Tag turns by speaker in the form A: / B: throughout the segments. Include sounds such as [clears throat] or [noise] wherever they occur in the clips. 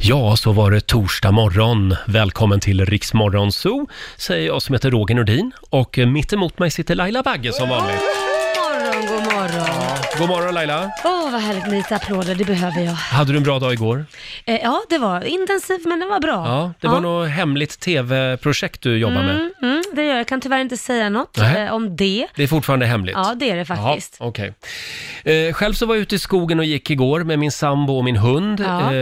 A: Ja, så var det torsdag morgon. Välkommen till Riksmorgon Zoo, säger jag som heter Roger Nordin. Och eh, mitt emot mig sitter Laila Bagge som vanligt.
B: morgon, god morgon.
A: God morgon Laila!
B: Åh, vad härligt med lite applåder, det behöver jag.
A: Hade du en bra dag igår?
B: Eh, ja, det var intensivt men det var bra.
A: Ja, det var något hemligt tv-projekt du jobbar med.
B: Mm, mm, det gör jag. jag kan tyvärr inte säga något
A: Nej.
B: eh, om det.
A: Det är fortfarande hemligt.
B: Ja, det är det faktiskt.
A: Jaha, okej. eh, själv så var jag ute i skogen och gick igår med min sambo och min hund.
B: Ja.
A: Eh,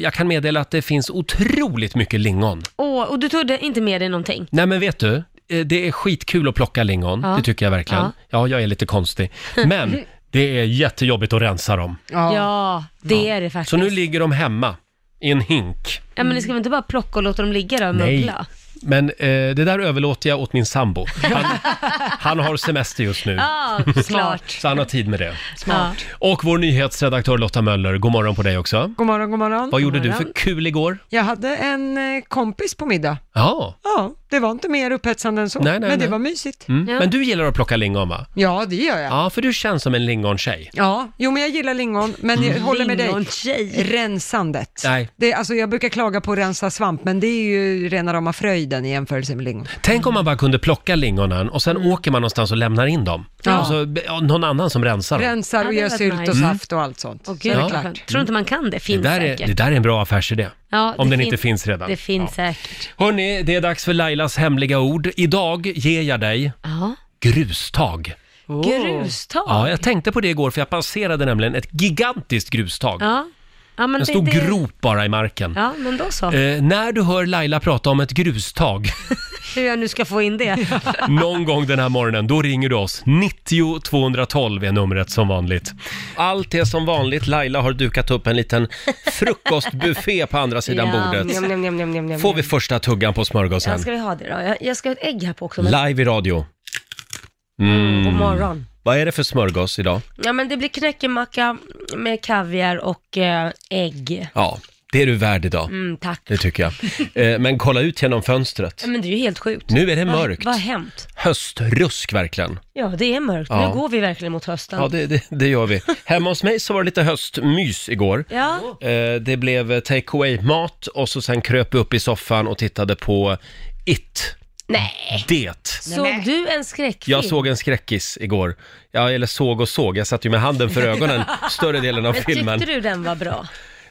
A: jag kan meddela att det finns otroligt mycket lingon.
B: Åh, och du tog inte med dig någonting?
A: Nej men vet du, eh, det är skitkul att plocka lingon,
B: Ja.
A: det tycker jag verkligen. Ja.
B: Ja.
A: jag är lite
B: [laughs]
A: konstig. Men det är jättejobbigt att rensa dem.
B: Ja, det är det faktiskt.
A: Så nu ligger de hemma i en hink.
B: Ja, men ni ska väl inte bara plocka och låta dem ligga där och muggla?
A: Men eh, det där överlåter jag åt min sambo.
B: [laughs]
A: Han, han har semester just nu, [laughs]
B: Ja, klart.
A: så han har tid med det.
B: Ja.
A: Och vår nyhetsredaktör Lotta Möller, god morgon på dig också.
C: God morgon, god morgon.
A: Vad gjorde
B: God
A: du
B: morgon.
A: för kul igår?
C: Jag hade en eh, kompis på middag.
A: Ja,
C: Ja, det var inte mer upphetsande än så,
A: Nej, nej,
C: men det
A: nej.
C: var mysigt.
A: mm.
B: Ja.
A: men du gillar att plocka lingon va?
C: Ja, det gör jag. Ja.
A: Ja, för du känns som en lingontjej.
C: jo men jag gillar lingon, men
A: Mm.
C: jag håller med dig.
B: Lingontjej.
C: Rensandet.
A: Nej.
C: Det, alltså, jag brukar klaga på att rensa svamp, men det är ju rena rama fröjden i jämförelse med lingon.
A: Tänk om man bara kunde plocka lingonen och sen
B: Mm.
A: åker man någonstans och lämnar in dem. Alltså,
C: Ja.
A: Och så, ja, någon annan som rensar dem.
C: Rensar
B: Ja,
C: och
B: det
C: gör
B: var
C: sylt
B: nice.
C: och
A: Mm.
C: saft och allt sånt.
B: Åh,
C: Så
B: gud,
C: är det
B: vad
C: klart.
B: skönt. Tror inte man kan det?
A: Det
B: Finns
A: där, är,
B: säkert.
A: det där är en bra affärsidé.
B: Ja,
A: om
B: det
A: den inte finns redan.
B: Det finns
A: Ja.
B: säkert.
A: Hörni, det är dags för Lailas hemliga ord. Idag ger jag dig
B: Ja.
A: grustag.
B: Grustag.
A: Ja, jag tänkte på det igår för jag passerade nämligen ett gigantiskt grustag.
B: Ja. Ja, men
A: En
B: det-
A: stor
B: det-
A: grop bara i marken.
B: Ja, men då så.
A: Eh, när du hör Laila prata om ett grustag
B: Hur jag nu ska få
A: [laughs]
B: in det.
A: någon gång den här morgonen, då ringer du oss. 90 212 är numret som vanligt. Allt är som vanligt. Laila har dukat upp en liten frukostbuffé på andra sidan
B: Ja,
A: bordet.
D: Njam, njam, njam, njam, njam, njam.
A: Får vi första tuggan på smörgåsen.
B: Ja, ska vi ha det då? Jag, jag ska ha ett ägg här på också. Men
A: Live i radio. Mm.
B: God morgon.
A: Vad är det för smörgås idag?
B: Ja, men det blir knäckemacka med kaviar och eh, ägg.
A: Ja, det är du värd idag.
B: Mm, tack.
A: Det tycker jag.
B: Mm.
A: Eh, Men kolla ut genom fönstret.
B: Ja, Men det är ju helt sjukt.
A: Nu är det
B: Vad-
A: mörkt.
B: Mm. Vad har hänt?
A: Höstrusk verkligen.
B: Ja, det är mörkt.
A: Ja.
B: Nu går vi verkligen mot hösten.
A: Ja, det, det, det gör
B: [laughs]
A: vi. Hemma hos mig så var det lite höstmys igår.
B: Ja.
A: Eh, Det blev eh, take away-mat och så sen kröp vi upp i soffan och tittade på It.
B: Nej.
A: Det.
B: Såg du en skräckfilm?
A: Jag såg en skräckis igår. Ja, eller såg och såg. Jag satt ju med handen för
B: [laughs]
A: ögonen större delen av
B: Men
A: filmen.
B: Tyckte du den var bra?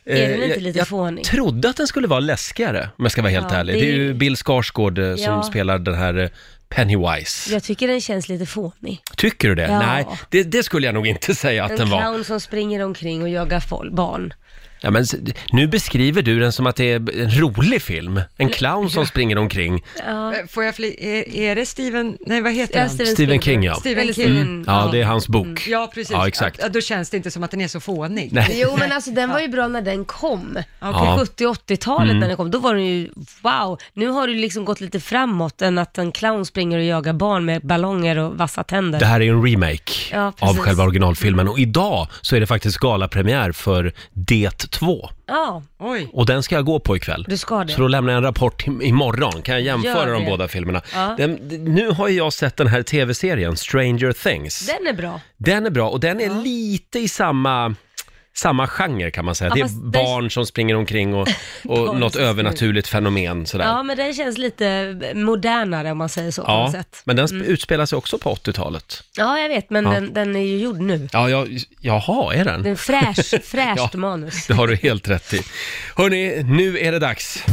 B: Är den
A: Eh,
B: inte
A: jag-
B: lite
A: jag
B: fånig?
A: trodde att den skulle vara läskigare, om jag ska vara helt
B: Ja,
A: ärlig.
B: det
A: Det är
B: är-
A: ju Bill Skarsgård eh, som
B: Ja.
A: spelar den här eh, Pennywise.
B: Jag tycker den känns lite fånig.
A: Tycker du det?
B: Ja.
A: Nej, det, det skulle jag nog inte [laughs] säga att
B: En
A: den var.
B: clown som springer omkring och jagar folk, barn.
A: Ja, men, s- nu beskriver du den som att det är en rolig film. En clown som springer omkring.
B: Ja.
C: Eh, Får jag fli- är, är det Steven, nej vad heter
B: Ja,
C: han?
B: Steven
A: Stephen King, ja.
C: Stephen
B: Eller
C: King.
B: Stephen-
A: Mm. Ja, det är hans
B: Mm.
A: bok.
C: Ja, precis.
A: Ja, exakt.
C: Ja, då känns det inte som att den är så fånig.
A: Nej.
B: Jo
A: [laughs]
B: men alltså den var ju bra när den kom.
A: Ja.
B: På 70-80-talet när den kom, då var den ju wow. Nu har det liksom gått lite framåt än att en clown springer och jagar barn med ballonger och vassa tänder.
A: Det här är en remake
B: Ja,
A: av
B: precis. Mm.
A: själva originalfilmen och idag så är det faktiskt galapremiär för Det 2
B: Ja,
C: Oj.
A: och den ska jag gå på ikväll.
B: du ska det.
A: Så då lämnar jag en rapport im- imorgon. Kan jag jämföra
B: Gör
A: de
B: det.
A: båda filmerna?
B: Ja.
A: Den, d- nu har ju jag sett den här tv-serien, Stranger Things. Den,
B: Den är bra.
A: är bra och den är lite i samma, samma genre kan man säga.
B: Ja,
A: det är
B: fast
A: barn som springer omkring och, och
B: [laughs] Barn
A: något
B: som
A: övernaturligt fenomen sådär.
B: Ja
A: Ja,
B: men den känns lite modernare om man säger så på något sätt.
A: men den sp- utspelar sig också på 80-talet.
B: Ja jag vet men
A: Ja.
B: Den, den är ju gjord nu.
A: Ja, jag, jaha, är den?
B: Den är fräsch, fräscht
A: [laughs] Ja.
B: manus.
A: Det har du helt rätt i. Hörni, nu är det dags.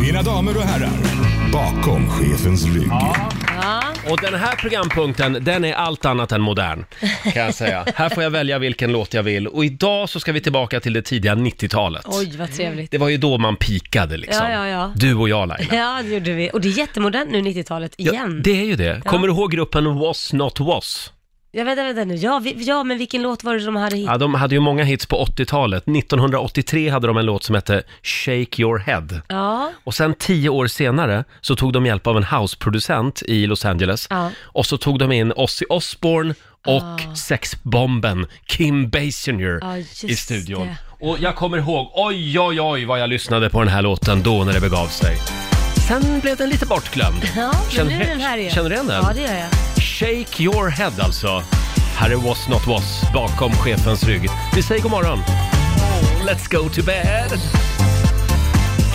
E: Mina damer och herrar, bakom chefens rygg.
A: Och den här programpunkten, den är allt annat än modern, kan jag säga. här får jag välja vilken låt jag vill. Och idag så ska vi tillbaka till det tidiga 90-talet.
B: Oj vad trevligt.
A: Det var ju då man pikade liksom.
B: Ja, ja, ja.
A: Du och jag
B: [laughs]
A: Laila.
B: Ja det gjorde vi. Och det är jättemodernt nu 90-talet
A: Ja,
B: igen.
A: det är ju det. Kommer du ihåg gruppen Was Not Was?
B: Ja, vänta, vänta nu. Ja, vi, ja, men vilken låt var det de hade hit?
A: Ja, de hade ju många hits på 80-talet. 1983 hade de en låt som hette Shake Your Head.
B: Ja,
A: Och sen tio år senare så tog de hjälp av en houseproducent i Los Angeles.
B: Ja. Ah.
A: Och så tog de in Ozzy Osbourne och sexbomben Kim Basinger
B: Ja, just
A: i studion.
B: det.
A: Och jag kommer ihåg, oj, oj, oj vad jag lyssnade på den här låten då när det begav sig. Sen blev den lite bortglömd.
B: ja men
A: Känner-
B: nu är den här igen.
A: känner du igen den?
B: Ja, det gör jag.
A: Shake your head alltså. Här är Was Not Was bakom chefens rygg. Vi säger god morgon. let's go to bed.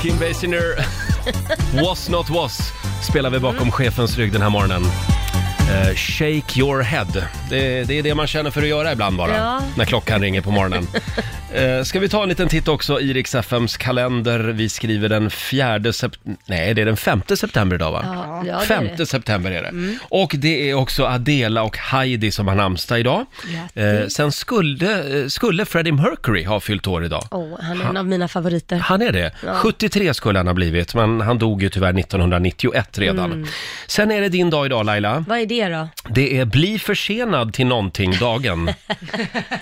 A: Kim Basinger,
B: [laughs]
A: was not was, spelar vi
B: Mm.
A: bakom chefens rygg den här morgonen. Eh, shake your head. Det, det är det man känner för att göra ibland bara,
B: Ja.
A: när klockan ringer på
B: [laughs]
A: morgonen. Eh, ska vi ta en liten titt också i Rix FMs kalender. Vi skriver den fjärde september, nej det är den femte september idag va?
B: Ja, ja, det är det. Mm.
A: Femte september är det. Och det är också Adela och Heidi som har namnsdag idag.
B: Grattis.
A: Eh, sen skulle, eh, skulle Freddie Mercury ha fyllt år idag.
B: Åh, han är en av mina favoriter.
A: Han är det. 73 skulle han ha blivit, men han dog ju tyvärr 1991 redan.
B: Mm.
A: Sen är det din dag idag Laila.
B: Vad är det då?
A: Det är bli försenad till
B: [laughs]
A: någonting-dagen.
B: Och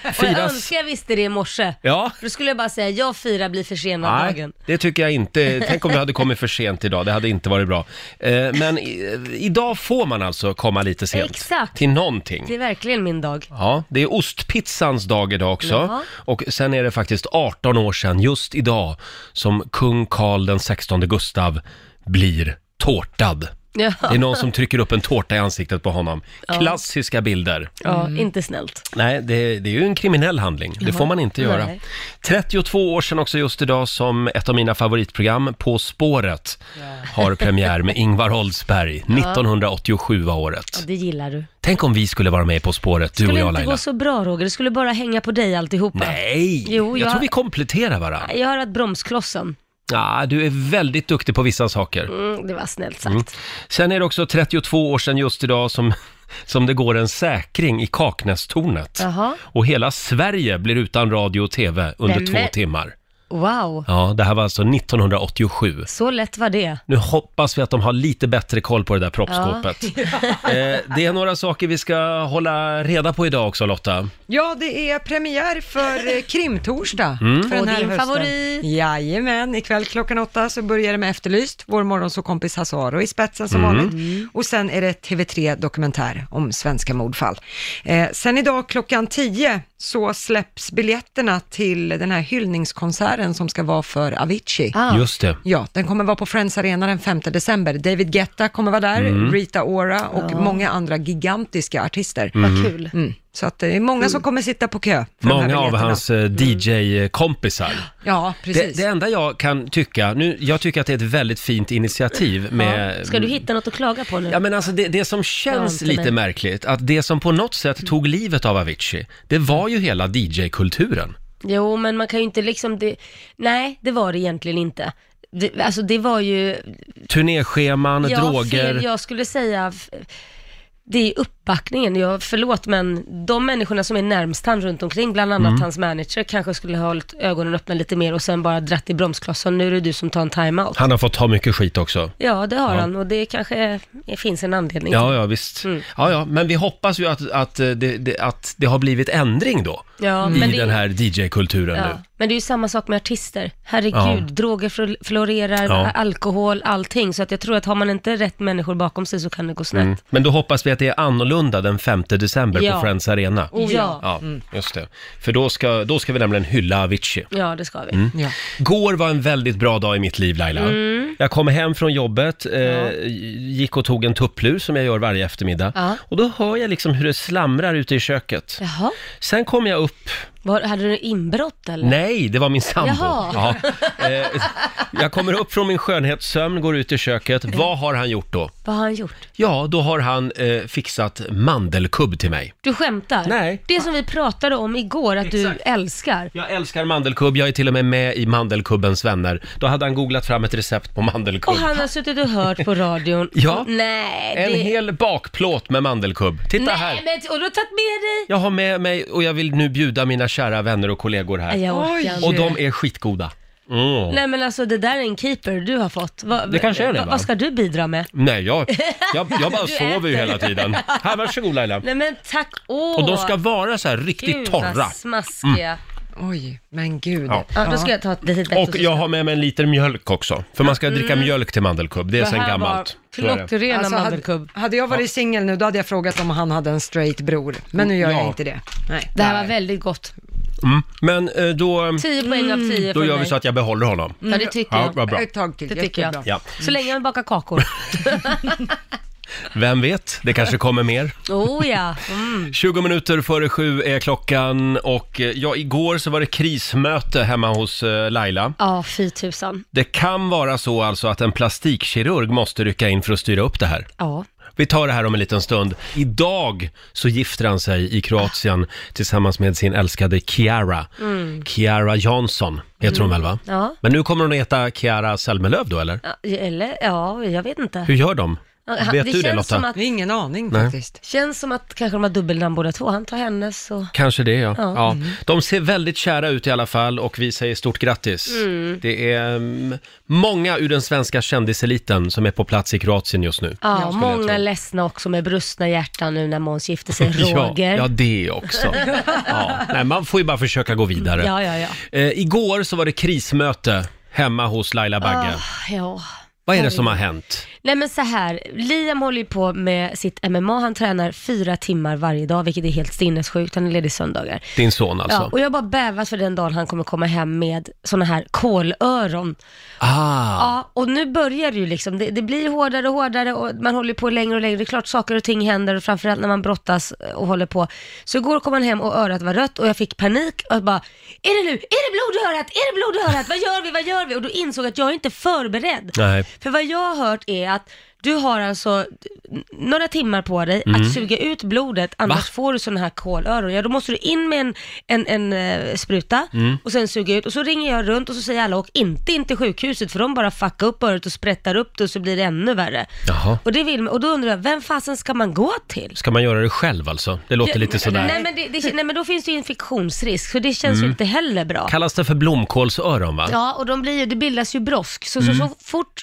B: jag
A: Firas...
B: önskar jag visste det i morse.
A: Ja.
B: För då skulle jag bara säga, jag firar bli försenad-dagen.
A: Nej, det tycker jag inte. Tänk om du hade kommit för sent idag, det hade inte varit bra. Eh, Men i, idag får man alltså komma lite sent
B: Exakt.
A: till någonting.
B: Det är verkligen min dag.
A: Ja, det är ostpizzans dag idag också.
B: Jaha.
A: Och sen är det faktiskt 18 år sedan, just idag, som kung Karl den 16 Gustav blir tårtad.
B: Ja,
A: Det är någon som trycker upp en tårta i ansiktet på honom. Klassiska bilder.
B: ja inte snällt.
A: Nej, det, det är ju en kriminell handling. Det får man inte göra.
B: Nej.
A: 32 år sedan också just idag som ett av mina favoritprogram, På spåret, har premiär med Ingvar Oldsberg. 1987 var året.
B: Ja, det gillar du.
A: Tänk om vi skulle vara med På spåret, du
B: Det
A: och
B: skulle
A: jag
B: inte
A: Laila.
B: gå så bra Roger, det skulle bara hänga på dig alltihopa.
A: Nej,
B: Jo,
A: jag
B: jag-
A: tror vi kompletterar varandra.
B: Jag har att bromsklossen.
A: Ja, du är väldigt duktig på vissa saker.
B: Mm, det var snällt sagt.
A: Sen är det också 32 år sedan just idag som, [laughs] som det går en säkring i Kaknästornet.
B: Jaha.
A: Och hela Sverige blir utan radio och TV under
B: Nämen.
A: två timmar.
B: Wow,
A: Ja, det här var alltså 1987.
B: så lätt var det.
A: Nu hoppas vi att de har lite bättre koll på det där proppskåpet. eh, det är några saker vi ska hålla reda på idag också Lotta.
C: Ja, det är premiär för eh, Krimtorsdag för
B: Och
C: den här
B: din
C: hösten.
B: favorit.
C: Jajamän, ikväll klockan åtta så börjar det med Efterlyst, vår morgonsåkompis Hasse Aro i spetsen som
B: Mm.
C: vanligt. Och sen är det TV3 Dokumentär om svenska mordfall. Eh, sen idag klockan tio så släpps biljetterna till den här hyllningskonserten som ska vara för Avicii.
B: Ah.
A: Just det.
C: Ja, den kommer vara på Friends Arena den 5 december. David Guetta kommer vara där, Rita Ora och många andra gigantiska artister.
B: Vad kul.
C: Mm. Så att det är många som kommer sitta på kö. för de här
A: Många av
C: biljetterna.
A: hans eh, DJ-kompisar.
C: Ja,
A: Det,
C: precis.
A: det enda jag kan tycka, nu, jag tycker att det är ett väldigt fint initiativ med...
B: Ja. Ska du hitta något att klaga på nu?
A: Ja men alltså det, det som känns
B: Skönt,
A: lite
B: men-
A: märkligt, att det som på något sätt tog livet av Avicii, det var ju hela DJ-kulturen.
B: Jo, men man kan ju inte liksom... Det... Nej, det var det egentligen inte. Det, alltså det var ju...
A: Turnéscheman,
B: Ja,
A: droger.
B: Fel, jag skulle säga... f- Det är uppbackningen. Jag, förlåt, men de människorna som är närmst han runt omkring, bland annat
A: Mm.
B: hans manager, kanske skulle ha hållit ögonen öppna lite mer och sen bara dratt i bromsklossen. Nu är det du som tar en timeout.
A: Han har fått ta mycket skit också.
B: Ja, det har han och det kanske är, det finns en anledning. till.
A: Ja, ja visst.
B: Mm.
A: Ja, ja, men vi hoppas ju att, att, eh, det, det, att det har blivit ändring då
B: Ja,
A: i
B: men det-
A: den här DJ-kulturen
B: Ja.
A: nu.
B: Men det är ju samma sak med artister. Herregud,
A: Ja.
B: droger fl- florerar,
A: Ja.
B: alkohol, allting. Så att jag tror att har man inte rätt människor bakom sig så kan det gå snett.
A: Mm. Men då hoppas vi att det är annorlunda den 5 december
B: Ja.
A: på Friends Arena.
B: Oh, ja.
A: Ja, just det. För då ska, då ska vi nämligen hylla Avicii.
B: Ja, det ska vi.
A: Mm.
C: Ja.
A: Går var en väldigt bra dag i mitt liv Laila.
B: Mm.
A: Jag kom hem från jobbet, eh, gick och tog en tupplur som jag gör varje eftermiddag.
B: Ja.
A: Och då hör jag liksom hur det slamrar ute i köket.
B: Jaha,
A: Sen kom jag upp,
B: var, hade du inbrott eller?
A: nej det var min sambo.
B: Jaha.
A: Ja. Eh, jag kommer upp från min skönhetssömn, går ut i köket. Vad har han gjort då?
B: Vad har han gjort?
A: Ja, då har han eh, fixat mandelkubb till mig.
B: Du skämtar?
A: Nej.
B: Det som vi pratade om igår, att du älskar.
A: Jag älskar mandelkubb, jag är till och med med i Mandelkubbens vänner. Då hade han googlat fram ett recept på mandelkubb.
B: Och han har suttit och hört på radion.
A: [laughs] Ja.
B: Och, nej,
A: En
B: det...
A: hel bakplåt med mandelkubb. Titta här!
B: Nej, men, och du har tagit med dig?
A: Jag har med mig och jag vill nu bjuda mina kära vänner och kollegor här.
B: Nej, jag orkar
C: Oj.
B: inte.
A: Och de är skitgoda. Mm.
B: Nej men alltså det där är en keeper du har fått. Va,
A: Det kanske är det,
B: va,
A: va?
B: Vad ska du bidra med?
A: Nej, jag, jag, jag bara
B: [laughs] Du
A: sover ju
B: äter.
A: hela tiden. [laughs] Här, varsågod Laila.
B: Nej men tack, åh!
A: Och de ska vara så här riktigt
B: Gud,
A: torra. Mm.
B: vad smaskiga.
C: Oj, men gud.
A: Ja.
B: Ja, då ska Mm. jag ta ett litet bett
A: Och jag har med mig en liter mjölk också. För man ska dricka mjölk till mandelkubb. Det är sen gammalt. Så är det.
B: Klockrena
C: Alltså, hade,
B: mandelkubb.
C: hade jag varit singel nu, då hade jag frågat om han hade en straight bror. Men nu gör
A: Ja.
C: jag inte det. Nej.
B: Det här var väldigt gott.
A: Mm. Men eh, då,
B: 10 poäng av 10 för
A: då gör
B: mig.
A: vi så att jag behåller honom.
B: Ja det tycker
A: Ja,
B: jag.
A: vad bra.
C: Ett tag till,
B: Det tycker jag.
C: jättebra.
A: Ja.
B: Så länge man bakar kakor.
A: Vem vet, det kanske kommer mer.
B: [laughs] Oh ja. [laughs] Mm.
A: 20 minuter före sju är klockan och eh, ja, igår så var det krismöte hemma hos eh, Laila.
B: Ja, fy tusan.
A: Det kan vara så alltså att en plastikkirurg måste rycka in för att styra upp det här.
B: Ja.
A: Vi tar det här om en liten stund. Idag så gifter han sig i Kroatien tillsammans med sin älskade Kiara. Kiara Jansson heter hon väl va?
B: Mm. Ja.
A: Men nu kommer hon att heta Kiara Selmelöv då eller?
B: Ja, Eller, ja, jag vet inte.
A: Hur gör de?
B: Ja,
A: Vet du det
B: känns
A: Lotta?
B: Som att,
C: Ingen aning
A: Nej.
C: faktiskt.
B: känns som att kanske de har dubbelnamn båda två. Han tar hennes och...
A: Kanske det ja. ja.
B: Ja. Mm.
A: De ser väldigt kära ut i alla fall och vi säger stort grattis. Det är mm, många ur den svenska kändiseliten som är på plats i Kroatien just nu.
B: Ja,
A: skulle jag
B: många
A: tro.
B: ledsna också med brustna hjärtan nu när
A: [laughs]
B: Måns gifte sig. Roger.
A: Ja, ja, det också. Ja. Nej, man får ju bara försöka gå vidare.
B: ja, ja. ja.
A: Eh, igår så var det krismöte hemma hos Laila Bagge.
B: Ah, ja.
A: Vad är det som har hänt?
B: Nej men så här, Liam håller ju på med sitt MMA, han tränar fyra timmar varje dag, vilket är helt sinnessjukt, han är ledig söndagar.
A: Din son alltså?
B: Ja, och jag har bara bävat för den dagen han kommer komma hem med såna här kolöron.
A: Ah,
B: Ja, och nu börjar det ju liksom, det, det blir hårdare och hårdare och man håller på längre och längre. Det är klart saker och ting händer och framförallt när man brottas och håller på. Så igår kom han hem och örat var rött och jag fick panik och jag bara, är det nu? Är det blod i örat? Är det blod i örat? Vad gör vi? Vad gör vi? Och då insåg jag att jag är inte förberedd.
A: [laughs] nej.
B: För vad jag har hört är att du har alltså n- några timmar på dig att suga ut blodet, annars
A: Mm. Va?
B: får du sådana här kolöron. Ja, då måste du in med en, en, en eh, spruta
A: Mm.
B: och sen suga ut. Och så ringer jag runt och så säger alla, åk inte in till sjukhuset för de bara fuckar upp örat och sprättar upp det och så blir det ännu värre.
A: Jaha.
B: Och, det vill, och då undrar jag, vem fasen ska man gå till?
A: Ska man göra det själv alltså? Det låter lite sådär. Mm.
B: Nej men, det, det, nej men då finns det ju infektionsrisk, så det känns ju inte heller bra.
A: Kallas det för blomkålsöron va? Mm.
B: Ja, och de blir ju, det bildas ju brosk. Så, så, så fort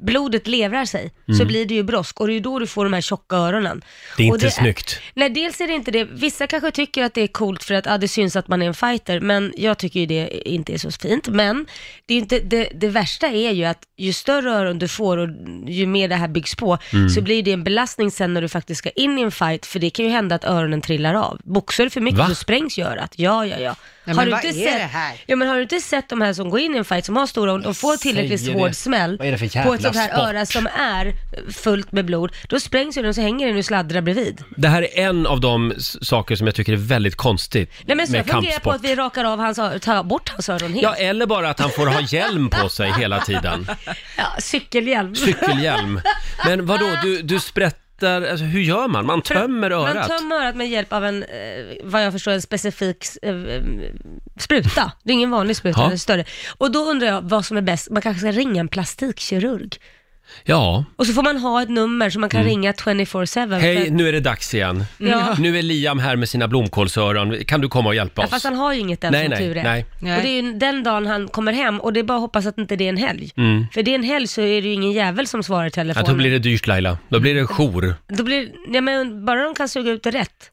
B: blodet levrar sig så blir det ju brosk och det är ju då du får de här tjocka öronen.
A: Det är
B: Och
A: inte snyggt.
B: Nej, dels är det inte det. Vissa kanske tycker att det är coolt för att ja, det syns att man är en fighter, men jag tycker ju det inte är så fint. Men det, är ju inte, det, det värsta är ju att ju större öron du får och ju mer det här byggs på,
A: Mm.
B: så blir det en belastning sen när du faktiskt ska in i en fight, för det kan ju hända att öronen trillar av. Boxar du för mycket
A: Va?
B: så sprängs ju örat. Ja, ja, ja.
C: Nej, men vad är det här?
B: Ja men har du inte sett de här som går in i en fight som har stora och de får
A: Säger
B: tillräckligt
A: det.
B: hård smäll
A: Vad är det för jävla
B: på ett sånt här
A: sport?
B: öra som är fullt med blod, då sprängs ju den och så hänger den och sladdrar bredvid.
A: Det här är en av de s- saker som jag tycker är väldigt konstigt
B: Nej men så
A: med
B: jag funderar på
A: kampsport.
B: att vi rakar av hans, ö- tar bort hans öron helt.
A: Ja,
B: Ja,
A: eller bara att han får ha hjälm på sig hela tiden.
B: cykelhjälm.
A: Cykelhjälm. Men vadå, du, du sprättar, alltså, hur gör man? Man tömmer
B: Man
A: örat?
B: tömmer örat med hjälp av en, eh, vad jag förstår, en specifik eh, spruta. Det är ingen vanlig spruta,
A: Ja.
B: den är större. Och då undrar jag vad som är bäst. Man kanske ska ringa en plastikkirurg.
A: Ja.
B: Och så får man ha ett nummer som man kan ringa 24-7.
A: Mm. Hej, nu är det dags igen.
B: Ja.
A: Nu är Liam här med sina blomkålsöron. Kan du komma och hjälpa
B: Ja,
A: oss?
B: fast han har ju inget än
A: Nej,
B: som
A: nej,
B: tur är.
A: nej.
C: Nej.
B: Och det är ju den dagen han kommer hem och det är bara att hoppas att inte det är en helg. För det är en helg så är det ju ingen jävel som svarar i
A: Ja,
B: telefonen.
A: Mm. då blir det dyrt Laila. Då blir
B: Mm.
A: det jour.
B: Då blir, ja, men bara de kan suga ut det rätt.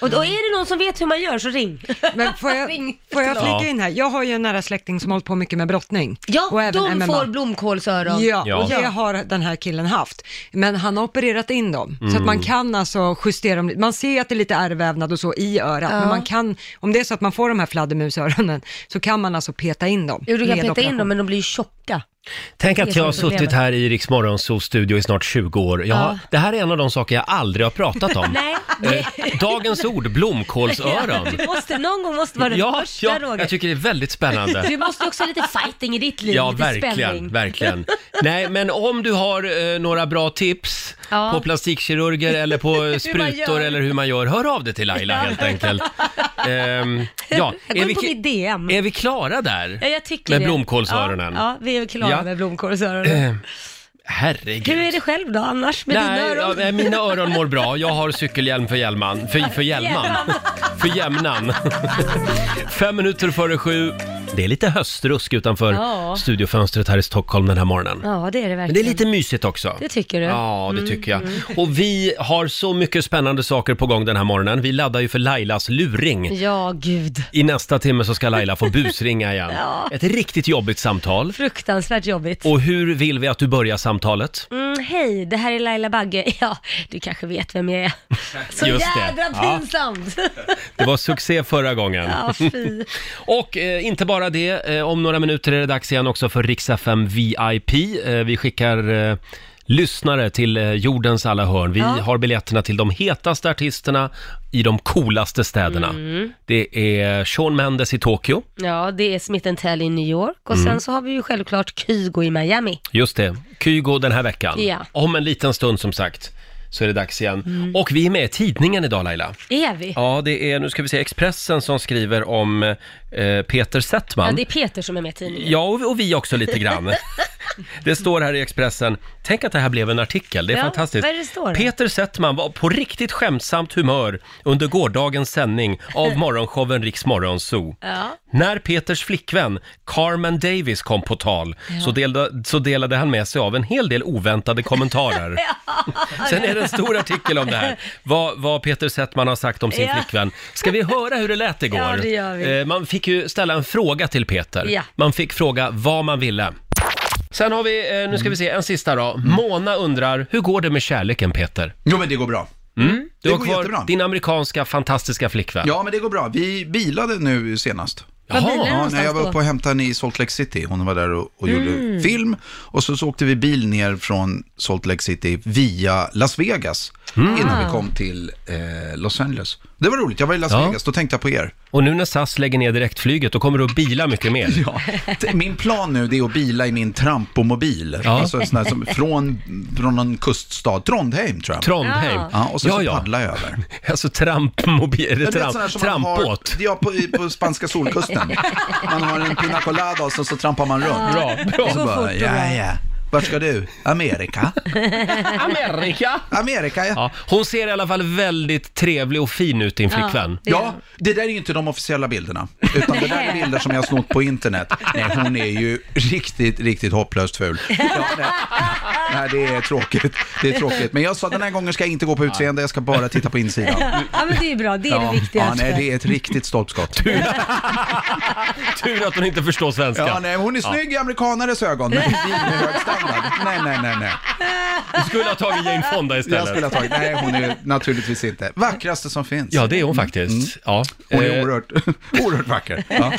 B: Och, och är det någon som vet hur man gör så ring.
C: Men får jag,
B: Ring.
C: får jag
A: Ja.
C: flika in här? Jag har ju en nära släkting som hållit på mycket med brottning.
B: [laughs] Ja,
C: och även
B: de
C: MMA.
B: får blomkålsöron.
C: Ja,
A: Ja.
C: och det har den här killen haft. Men han har opererat in dem, så att man kan alltså justera dem. Man ser att det är lite ärrvävnad och så i örat, men man kan, om det är så att man får de här fladdermusöronen, så kan man alltså peta in dem.
B: Jo, du kan
C: med
B: peta in
C: operation.
B: dem men de blir ju tjocka.
A: Tänk
B: Det
A: att
B: är
A: jag har
B: som problemet.
A: suttit här i Rix Morgonzos studio i snart 20 år. Jag har,
B: Ja.
A: Det här är en av de saker jag aldrig har pratat om.
B: [laughs] Nej,
A: Eh, Dagens ord,
B: [laughs]
A: blomkålsöron.
B: du måste, någon gång måste vara den
A: Ja,
B: första
A: ja,
B: Roger.
A: jag tycker det är väldigt
B: [laughs]
A: spännande.
B: Du måste ju också ha lite fighting i ditt liv,
A: Ja,
B: lite
A: verkligen,
B: spänning.
A: verkligen. Nej, men om du har eh, några bra tips
B: Ja.
A: på plastikkirurger eller
B: [laughs]
A: på sprutor
B: gör.
A: eller hur man gör, hör av dig till Laila helt enkelt.
B: [laughs]
A: Ehm, ja,
B: Jag
A: är
B: går in
A: vi,
B: på mitt
A: ki-
B: DM.
A: är vi klara där?
B: Ja, jag tycker
A: Med
B: det.
A: blomkålsöronen.
B: Ja, ja, vi är klara
A: Ja.
B: med blomkålsöronen.
A: Eh, Herregud.
B: Hur är det själv då annars med
A: Nej,
B: dina öron?
A: ja, eh, mina öron mår bra. Jag har cykelhjälm för hjälman. För, för hjälman. För jämnan. [laughs] Fem minuter före sju. Det är lite höstrusk utanför
B: Ja.
A: studiofönstret här i Stockholm den här morgonen.
B: Ja, det är det verkligen.
A: Men det är lite mysigt också.
B: Det tycker du? Mm,
A: Ja, det tycker jag. Och vi har så mycket spännande saker på gång den här morgonen. Vi laddar ju för Lailas luring.
B: Ja, gud.
A: I nästa timme så ska Laila få busringa
B: [laughs]
A: igen. Ett riktigt jobbigt samtal.
B: Fruktansvärt jobbigt.
A: Och hur vill vi att du börjar samtalet?
B: Mm, hej, det här är Laila Bagge. [laughs] Ja, du kanske vet vem jag
A: [laughs]
B: är. Så
A: Just det.
B: jädra
A: Ja.
B: pinsamt. [laughs]
A: Det var succé förra gången.
B: Ja, fy.
A: Och eh, inte bara det, eh, om några minuter är det dags igen också för Riksa 5 VIP. Eh, vi skickar eh, lyssnare till eh, jordens alla hörn. Vi har biljetterna till de hetaste artisterna i de coolaste städerna.
B: Mm.
A: Det är Shawn Mendes i Tokyo,
B: Ja, det är Smith Tell i New York och
A: Mm.
B: sen så har vi ju självklart Kygo i Miami.
A: just det, Kygo den här veckan.
B: Ja. Mm.
A: Om en liten stund som sagt så är det dags igen. Och vi är med i tidningen idag Laila.
B: Är vi? Ja,
A: Ja, det är, nu ska vi se, Expressen som skriver om eh, Peter Settman.
B: det är Peter som är med i tidningen.
A: Ja, och, och vi också lite grann. det står här i Expressen, tänk att det här blev en artikel, det är
B: Ja,
A: fantastiskt.
B: vad är det står då?
A: Peter Settman var på riktigt skämtsamt humör under gårdagens sändning
B: [laughs]
A: av morgonshowen Riks Morgonzoo.
B: Ja.
A: När Peters flickvän Carmen Davis kom på tal så, delade, så delade han med sig av en hel del oväntade
B: [laughs]
A: kommentarer. Sen är det en stor artikel om det här, vad, vad Peter Settman har sagt om sin
B: Ja.
A: flickvän. Ska vi höra hur det lät igår?
B: Ja, det gör vi.
A: Eh, Man fick ju ställa en fråga till Peter.
B: Ja.
A: Man fick fråga vad man ville. Sen har vi, eh, nu ska vi se, en sista då.
D: Mm.
A: Mona undrar, hur går det med kärleken Peter?
D: Jo men det går bra.
A: Du
D: Det
A: har
D: går
A: kvar
D: jättebra.
A: din amerikanska fantastiska flickvän.
D: Ja men det går bra. Vi bilade nu senast.
B: Vad
A: Jaha.
B: bilar
D: Ja,
B: någonstans
D: när jag var
B: då? Mm.
D: uppe och hämtade henne i Salt Lake City. Hon var där och, och gjorde film. Och så, så åkte vi bil ner från Salt Lake City via Las Vegas.
B: Ah.
D: Innan vi kom till eh, Los Angeles. Det var roligt. Jag var i Las
A: Ja.
D: Vegas. Då tänkte jag på er.
A: Och nu när SAS lägger ner direktflyget, då kommer du att bila mycket mer.
D: [laughs] Ja. t- Min plan nu det är att bila i min trampomobil.
A: Ja.
D: Alltså en sån här som, från, från någon kuststad. Trondheim tror jag.
A: Trondheim.
B: Ja.
D: ja, och så, så paddlar jag över.
A: [laughs] Alltså trampmobil, eller
D: Ja, du vet
A: tramp,
D: sådana som man
A: trampbåt.
D: Har, ja, på, i- på spanska solkusten. Man har en pina colada och så, så trampar man runt.
A: Bra, bra.
D: Och så
B: går fort och
D: bara,
B: bra.
D: ja, ja. Vart ska du? Amerika?
A: Amerika!
D: Amerika, ja.
A: [laughs] Ja, hon ser i alla fall väldigt trevlig och fin ut, din flickvän.
B: det-
D: Ja, det där är ju inte de officiella bilderna, utan det där är bilder som jag har snott på internet. Nej, hon är ju riktigt, riktigt hopplöst ful. Ja, nej. nej, det är tråkigt. Det är tråkigt. Men jag sa den här gången ska jag inte gå på utseende, jag ska bara titta på insidan.
B: Ja, men det är ju bra. Det är
D: Ja,
B: det
D: ja,
B: viktigaste.
D: nej, det är ett riktigt stolpskott.
A: Tur att hon inte förstår svenska.
D: Ja, nej, hon är snygg i amerikanares ögon, men inte med hög standard. Nej, nej, nej, nej.
A: Du skulle ha tagit Jane Fonda
D: Jag
A: istället.
D: skulle ha tagit, nej hon är naturligtvis inte. Vackraste som finns.
A: Ja, det är hon faktiskt. Ja.
D: Mm. Hon är
A: Eh,
D: oerhört, [laughs] oerhört vacker. Ja.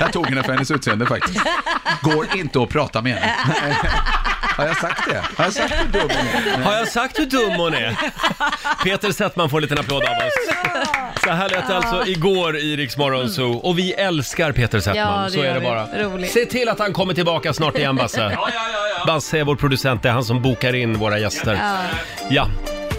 D: Jag tog henne för hennes utseende faktiskt. Går inte att prata
E: [laughs]
D: med henne. Har jag sagt det? Har jag sagt det dubbel
A: Har jag sagt hur dum hon är? Peter Settman får en liten applåd av oss. Så här lät det alltså igår i Rix Morgon Zoo. Och vi älskar Peter Settman,
B: Ja, det
A: så är
B: gör
A: det
B: vi.
A: bara.
B: Roligt.
A: Se till att han kommer tillbaka snart igen Basse. Basse är vår producent, det är han som bokar in våra gäster. Ja.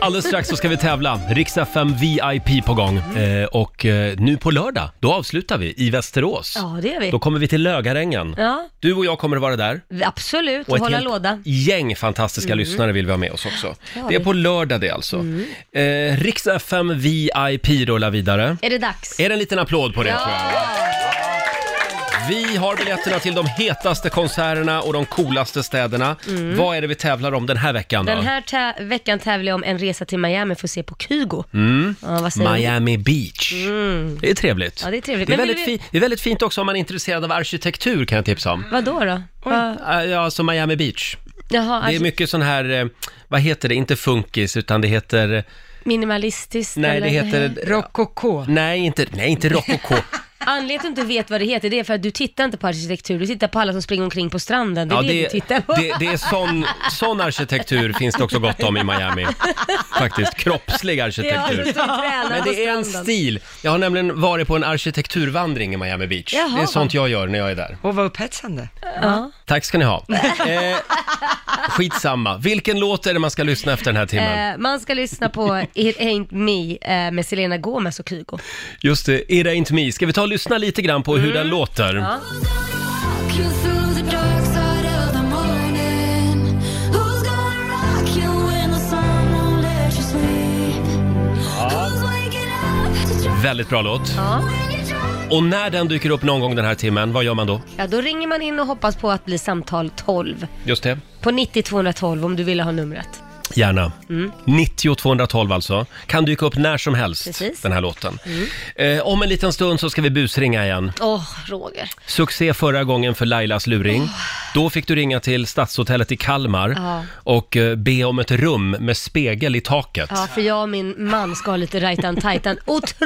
A: Alldeles strax så ska vi tävla. Rix FM VIP på gång.
B: Mm.
A: Eh, och eh, nu på lördag, då avslutar vi i Västerås.
B: Ja, det är vi.
A: Då kommer vi till Lögarängen.
B: Ja,
A: Du och jag kommer att vara där.
B: absolut.
A: Och ett
B: Hålla
A: helt
B: låda. Mm.
A: gäng fantastiska lyssnare vill vi ha med oss också.
B: har
A: Det är
B: vi. Mm.
A: på lördag det alltså. Eh, Rix FM VIP rullar vidare.
B: Är det dags?
A: Är det en liten applåd på det tror jag?
B: Ja.
A: Vi har biljetterna till de hetaste konserterna och de coolaste städerna. Vad är det vi tävlar om den här veckan då?
B: Mm. Den här tä- veckan tävlar jag om en resa till Miami för att se på Kygo. Ja, vad säger du?
A: Mm. Miami Beach. Det är trevligt.
B: Mm. Ja, det är trevligt.
A: Det är,
B: Men
A: väldigt
B: vill
A: fi- det är väldigt fint också om man är intresserad av arkitektur kan jag tipsa om.
B: Vad då? då? Vad-
A: Eh, Ja, alltså Miami Beach.
B: Jaha,
A: Det är
B: alltså,
A: mycket sån här, eh, vad heter det, inte funkis utan det heter, eh,
B: minimalistiskt?
A: nej
B: eller?
A: det heter...
C: Rokoko.
A: Nej, inte, nej, inte
B: [laughs]
A: rokoko.
B: Anledningen till att du inte vet vad det heter, det är för att du tittar inte på arkitektur, du tittar på alla som springer omkring på stranden. Det är det, du tittar på.
A: det, det är sån, sån arkitektur finns det också gott om i Miami. Faktiskt, kroppslig
B: Ja,
A: arkitektur.
B: du tränar
A: Men
B: på
A: det är en
B: stranden.
A: stil. Jag har nämligen varit på en arkitekturvandring i Miami Beach.
B: Jaha.
A: Det är sånt jag gör när jag är där.
C: Och vad upphetsande.
B: Ja.
A: Tack ska ni ha.
B: [laughs]
A: Eh, skitsamma. Vilken låt är det man ska lyssna efter den här timmen?
B: Eh, man ska lyssna på It Ain't Me eh, med Selena Gomez och Kygo.
A: Just det, It Ain't Me. Ska vi ta och lyssna lite grann på hur den låter?
B: Mm. Ja.
F: Rock you through the dark side of the morning. Who's gonna rock you when the sun won't let you sleep? Who's waking up to try
A: Väldigt bra låt.
F: when you try?
A: Och när den dyker upp någon gång den här timmen, vad gör man då?
B: ja, då ringer man in och hoppas på att bli samtal 12.
A: Just det.
B: På 90 212 om du vill ha numret.
A: Gärna.
B: Mm.
A: 90 212 alltså. Kan dyka upp när som helst,
B: Precis. Mm.
A: den här låten. Eh, om en liten stund så ska vi busringa igen.
B: Åh, Roger.
A: Succé förra gången för Lailas luring. Då fick du ringa till Stadshotellet i Kalmar
B: Ja.
A: och eh, be om ett rum med spegel i taket.
B: Ja, för jag och min man ska ha lite right and tightan.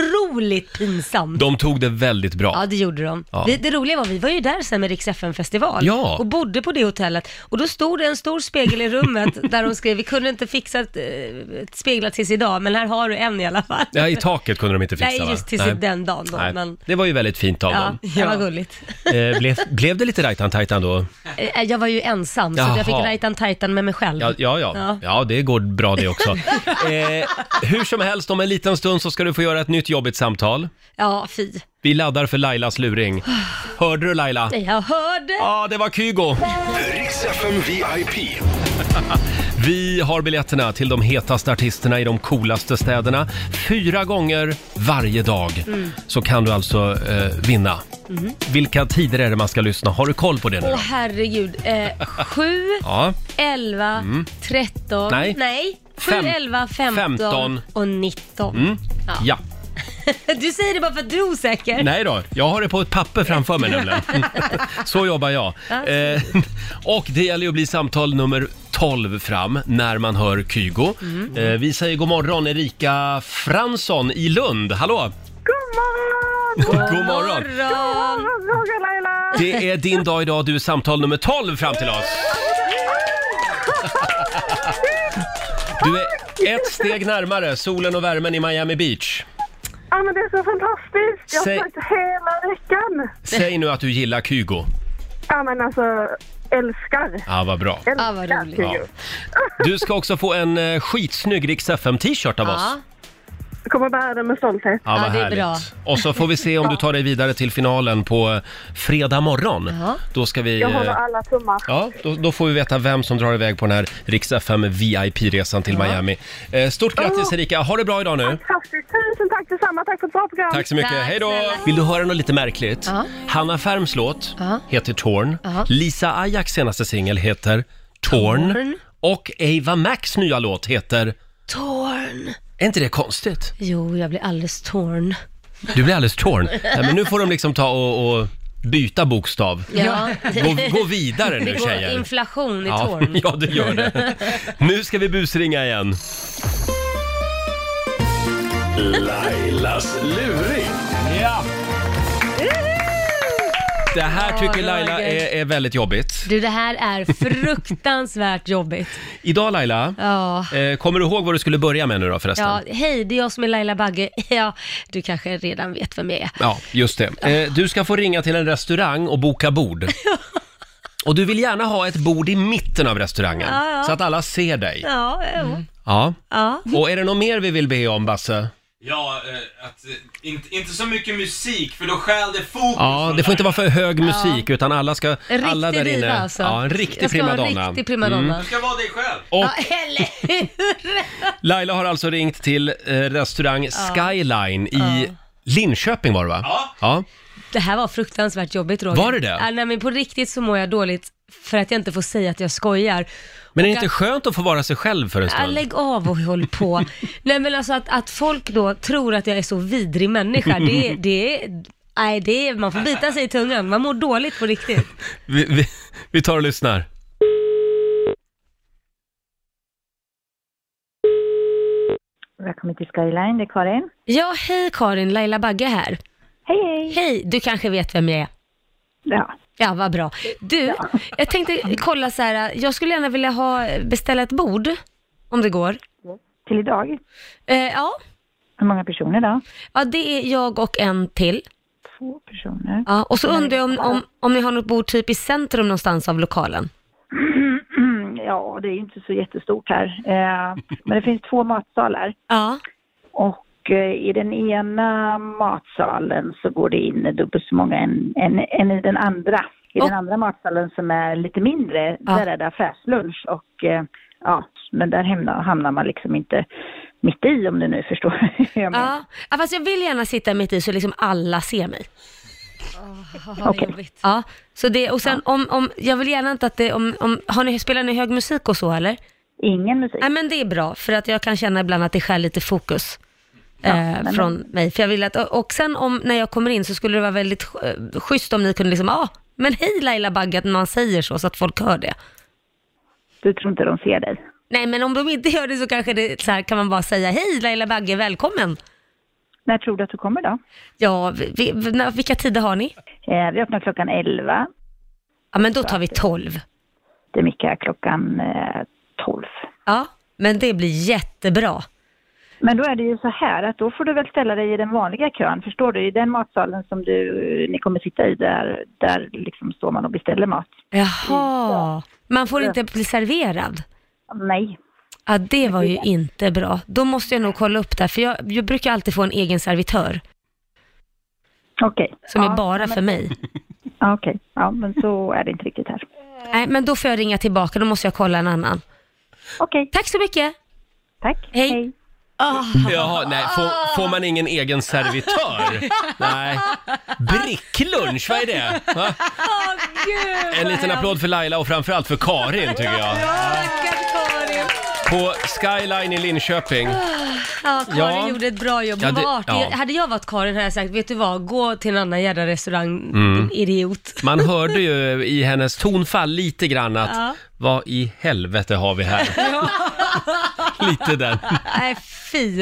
B: Otroligt pinsamt.
A: De tog det väldigt bra.
B: Ja, det gjorde de.
A: Ja.
B: Det, det roliga var, vi var ju där sen med Rix festival
A: Ja.
B: och bodde på det hotellet. Och då stod det en stor spegel
A: [laughs]
B: i rummet där de skrev, vi kunde inte fixa ett, eh, ett speglar tills idag, men här har du en i alla fall.
A: Ja, i taket kunde de inte fixa
B: Nej, just
A: va?
B: tills den dagen då,
A: Nej.
B: men-
A: Det var ju väldigt fint av
B: Ja,
A: dem.
B: det var gulligt.
A: Eh, blev, blev det lite rajtan tajtan då?
B: Eh, Jag var ju ensam, så jag fick
A: Jaha.
B: right and tightan med mig själv.
A: Ja, ja, ja.
B: Ja.
A: ja, det går bra det
B: [laughs]
A: också. Eh, hur som helst, om en liten stund så ska du få göra ett nytt jobbigt samtal.
B: Ja, fy.
A: Vi laddar för Lailas luring. Hörde du Laila? Ja,
B: Jag hörde.
A: ah, det var Kygo.
E: Riks FM VIP.
A: Vi har biljetterna till de hetaste artisterna i de coolaste städerna. Fyra gånger varje dag
B: Mm.
A: så kan du alltså eh, vinna. Vilka tider är det man ska lyssna? Har du koll på det nu?
B: Mhm. Åh
A: då?
B: herregud. Eh, 7,
A: Ja.
B: 11, 13,
A: Mm. Nej.
B: nej 7,
A: Fem.
B: 11, 15,
A: Femton. Mm.
B: och 19.
A: ja.
B: Du säger det bara för att du är
A: [laughs]
B: osäker.
A: Nej då, jag har det på ett papper framför mig nämligen. [laughs] Så jobbar jag. Eh, [laughs] och det gäller ju att bli samtal nummer 12 fram när man hör Kygo. Eh, vi säger god morgon Erika Fransson i Lund. Hallå! [laughs] God morgon! god morgon!
B: Morgon.
A: Det är din dag idag, du är samtal nummer 12 fram till [laughs] oss. Du är ett steg närmare solen och värmen i Miami Beach.
G: Ja, men det är så fantastiskt. Jag har
A: Säg-
G: sagt hela veckan.
A: Säg nu att du gillar Kygo.
G: Ja, men alltså, älskar.
A: Ja, vad bra.
G: älskar
B: Ah, vad roligt.
G: Kygo.
A: Ja. Du ska också få en eh, skitsnygg Rix FM-t-shirt av oss.
B: Ja.
G: Jag kommer bära den med stolthet.
A: Ja, vad
B: Ja, det är
A: härligt.
B: bra.
A: Och så får vi se
B: [laughs]
A: om du tar dig vidare till finalen på eh, fredag morgon.
B: Ja.
A: Då ska vi...
G: Jag
A: eh,
G: håller alla tummar.
A: Ja, då, då får vi veta vem som drar iväg på den här Rix FM VIP-resan till Miami. Eh, Stort
B: Oh.
A: grattis Erika, ha det bra idag nu.
G: Fantastiskt. Tusen tack detsamma. Tack för ett bra program.
A: Tack så mycket,
B: Tack
A: hej då!
B: snälla.
A: Vill du höra något lite märkligt?
B: Ja.
A: Hanna Färms låt
B: Ja.
A: heter Torn.
B: Ja.
A: Lisa Ajaks senaste singel heter Torn.
B: Torn.
A: Och Ava Max nya låt heter...
B: Torn.
A: Är inte det konstigt?
B: Jo, jag blir alldeles torn.
A: Du blir alldeles
B: [laughs]
A: torn. Nej, men nu får de liksom ta och, och byta bokstav.
B: Ja.
A: Gå, gå vidare
B: Det
A: nu
B: går
A: tjejer.
B: inflation i
A: Ja,
B: torn.
A: [laughs] ja, det gör det. Nu ska vi busringa igen.
E: Lailas luring.
A: Ja. Det här
B: Ja,
A: tycker
B: Roger.
A: Laila är, är väldigt jobbigt.
B: Du, det här är fruktansvärt jobbigt.
A: Idag Laila,
B: Ja.
A: eh, kommer du ihåg vad du skulle börja med nu då förresten?
B: Ja, hej, det är jag som är Laila Bagge. [laughs] Ja, du kanske redan vet vem jag är.
A: Ja, just det. Eh, du ska få ringa till en restaurang och boka bord.
B: [laughs]
A: Och du vill gärna ha ett bord i mitten av restaurangen,
B: Ja, ja.
A: så att alla ser dig.
B: Ja, jo.
A: Ja.
B: ja.
A: Och är det något mer vi vill be om, Basse?
H: Ja, eh, att, eh, inte, inte så mycket musik för då stjäl det fokus.
A: Ja,
H: från
A: det får inte
H: där.
A: vara för hög musik, utan alla ska...
B: En riktig
A: alla där inne.
B: diva alltså.
A: Ja, en
B: jag
A: riktig
B: ska vara en
A: primadonna. Mm.
B: riktig primadonna.
H: Du ska vara dig själv.
A: Och
B: Ja, eller hur?
A: Laila har alltså ringt till eh, restaurang Skyline i Linköping var det va?
H: Ja.
A: ja.
B: [laughs] Det här var fruktansvärt jobbigt Roger.
A: Var det det?
B: Ja, nej men på riktigt så mår jag dåligt för att jag inte får säga att jag skojar.
A: Men är det
B: Och
A: inte
B: att-
A: skönt att få vara sig själv för en
B: Ja,
A: stund?
B: lägg av och håll på. Nej men alltså att, att folk då tror att jag är så vidrig människa, det, det, nej, det är, man får bita sig i tungan, man mår dåligt på riktigt.
A: Vi, vi, vi tar och
B: [laughs]
A: lyssnar.
I: Välkommen till Skyline, det är Karin.
B: Ja, hej Karin, Laila Bagge här.
I: Hej, hej!
B: Hej, du kanske vet vem jag är?
I: Ja.
B: Ja, vad bra. Du, jag tänkte kolla så här, jag skulle gärna vilja ha, beställa ett bord, om det går.
I: Till idag.
B: Eh, ja.
I: Hur många personer då?
B: ja, det är jag och en till.
I: Två personer.
B: Ja, och så
I: Mm.
B: undrar jag om, om, om ni har något bord typ i centrum någonstans av lokalen.
I: [clears throat] ja, det är ju inte så jättestort här. [laughs] Eh, men det finns två matsalar.
B: Ja.
I: Och eh, i den ena matsalen så går det in dubbelt så många än, än, än i den andra. I
B: Och-
I: den andra matsalen som är lite mindre,
B: Ja.
I: där är det affärslunch och eh, ja, men där hamnar, hamnar man liksom inte mitt i om du nu förstår [laughs] hur jag menar.
B: Ja. ja, fast jag vill gärna sitta mitt i så liksom alla ser mig.
I: Okej.
B: Ja, så det, och sen om, om, jag vill gärna inte att det, om, om, har ni, spelar ni hög musik och så eller?
I: Ingen musik.
B: Nej men det är bra, för att jag kan känna ibland att det skär lite fokus. eh,
I: men-
B: från mig, för jag vill att, och sen om, när jag kommer in så skulle det vara väldigt sch- eh, schysst om ni kunde liksom, ja, Men hej Laila Bagge att man säger så, så att folk hör det.
I: Du tror inte de ser dig?
B: Nej, men om de inte gör det så kanske det så här, kan man bara säga hej Laila Bagge, välkommen.
I: När tror du att du kommer då?
B: Ja, vi, vi, när- vilka tider har ni?
I: Eh, vi öppnar klockan 11.
B: Ja, men då tar vi 12.
I: Det är Mika klockan eh, 12.
B: Ja, men det blir jättebra.
I: Men då är det ju så här att då får du väl ställa dig i den vanliga kön, förstår du? I den matsalen som du, ni kommer sitta i, där, där liksom står man och beställer mat.
B: Jaha, man får inte bli serverad?
I: Nej.
B: Ja, det var ju inte bra. Då måste jag nog kolla upp det här, för jag, jag brukar alltid få en egen servitör.
I: Okej.
B: Som
I: Ja,
B: är bara
I: men-
B: för mig.
I: Ja, Okej, ja men så är det inte riktigt här.
B: Nej, men då får jag ringa tillbaka, då måste jag kolla en annan.
I: Okej.
B: Tack så mycket.
I: Tack.
B: Hej.
A: Jaha, nej, får, får man ingen egen servitör?
B: [laughs]
A: Nej. Bricklunch, vad är det? Va?
B: Åh gud!
A: En liten applåd för Laila och framförallt för Karin tycker jag. På Skyline i Linköping.
B: Ja, Karin
A: Ja.
B: gjorde ett bra jobb. Hon
A: Ja, det-
B: var artig.
A: ja.
B: Hade jag varit Karin hade jag sagt, vet du vad, gå till en annan jävla restaurang,
A: Mm.
B: din idiot.
A: Man hörde ju i hennes tonfall lite grann att
B: Ja.
A: vad i helvete har vi här? [laughs] Lite den.
B: Nej, fy.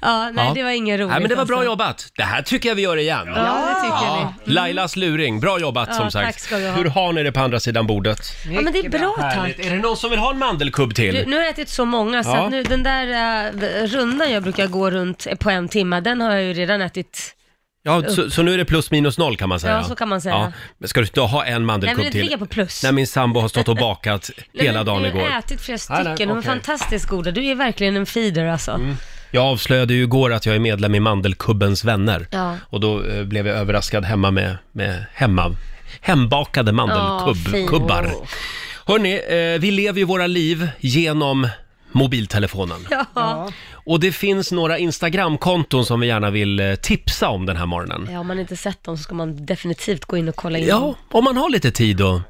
B: Ja, nej,
A: Ja.
B: det var ingen roligt.
A: Nej, men det var bra
B: alltså.
A: jobbat. Det här tycker jag vi gör igen.
B: Ja, det tycker
A: Ja,
B: vi.
A: Lailas luring, bra jobbat
B: Ja,
A: som sagt.
B: tack ska du ha.
A: Hur har ni det på andra sidan bordet?
B: Ja, men det är bra, tack.
A: Härligt. Är det någon som vill ha en mandelkubb till?
B: Du, nu har jag ätit så många, så
A: Ja.
B: att nu, den där eh, rundan jag brukar gå runt på en timme, den har jag ju redan ätit.
A: Ja, så, så nu är det plus minus noll kan man säga.
B: Ja, så kan man säga.
A: Men ska du inte ha en
B: Nej, men
A: mandelkubb
B: det
A: till?
B: ligger på plus.
A: När min sambo har stått och bakat hela dagen
B: Jag
A: igår.
B: har ätit flera
A: nej,
B: stycken, de är
A: okej. Mm.
B: fantastiskt goda. Du är verkligen en feeder alltså.
A: Jag avslöjade ju igår att jag är medlem i Mandelkubbens vänner.
B: Ja.
A: Och då eh, blev jag överraskad hemma med, med hemma, hembakade
B: Ja, fint.
A: mandelkubbar. Hörni, eh, vi lever ju våra liv genom mobiltelefonen.
B: Ja.
A: Och det finns några Instagramkonton som vi gärna vill eh, tipsa om den här morgonen.
B: ja, om man inte sett dem så ska man definitivt gå in och kolla in
A: Ja,
B: dem.
A: om man har lite tid att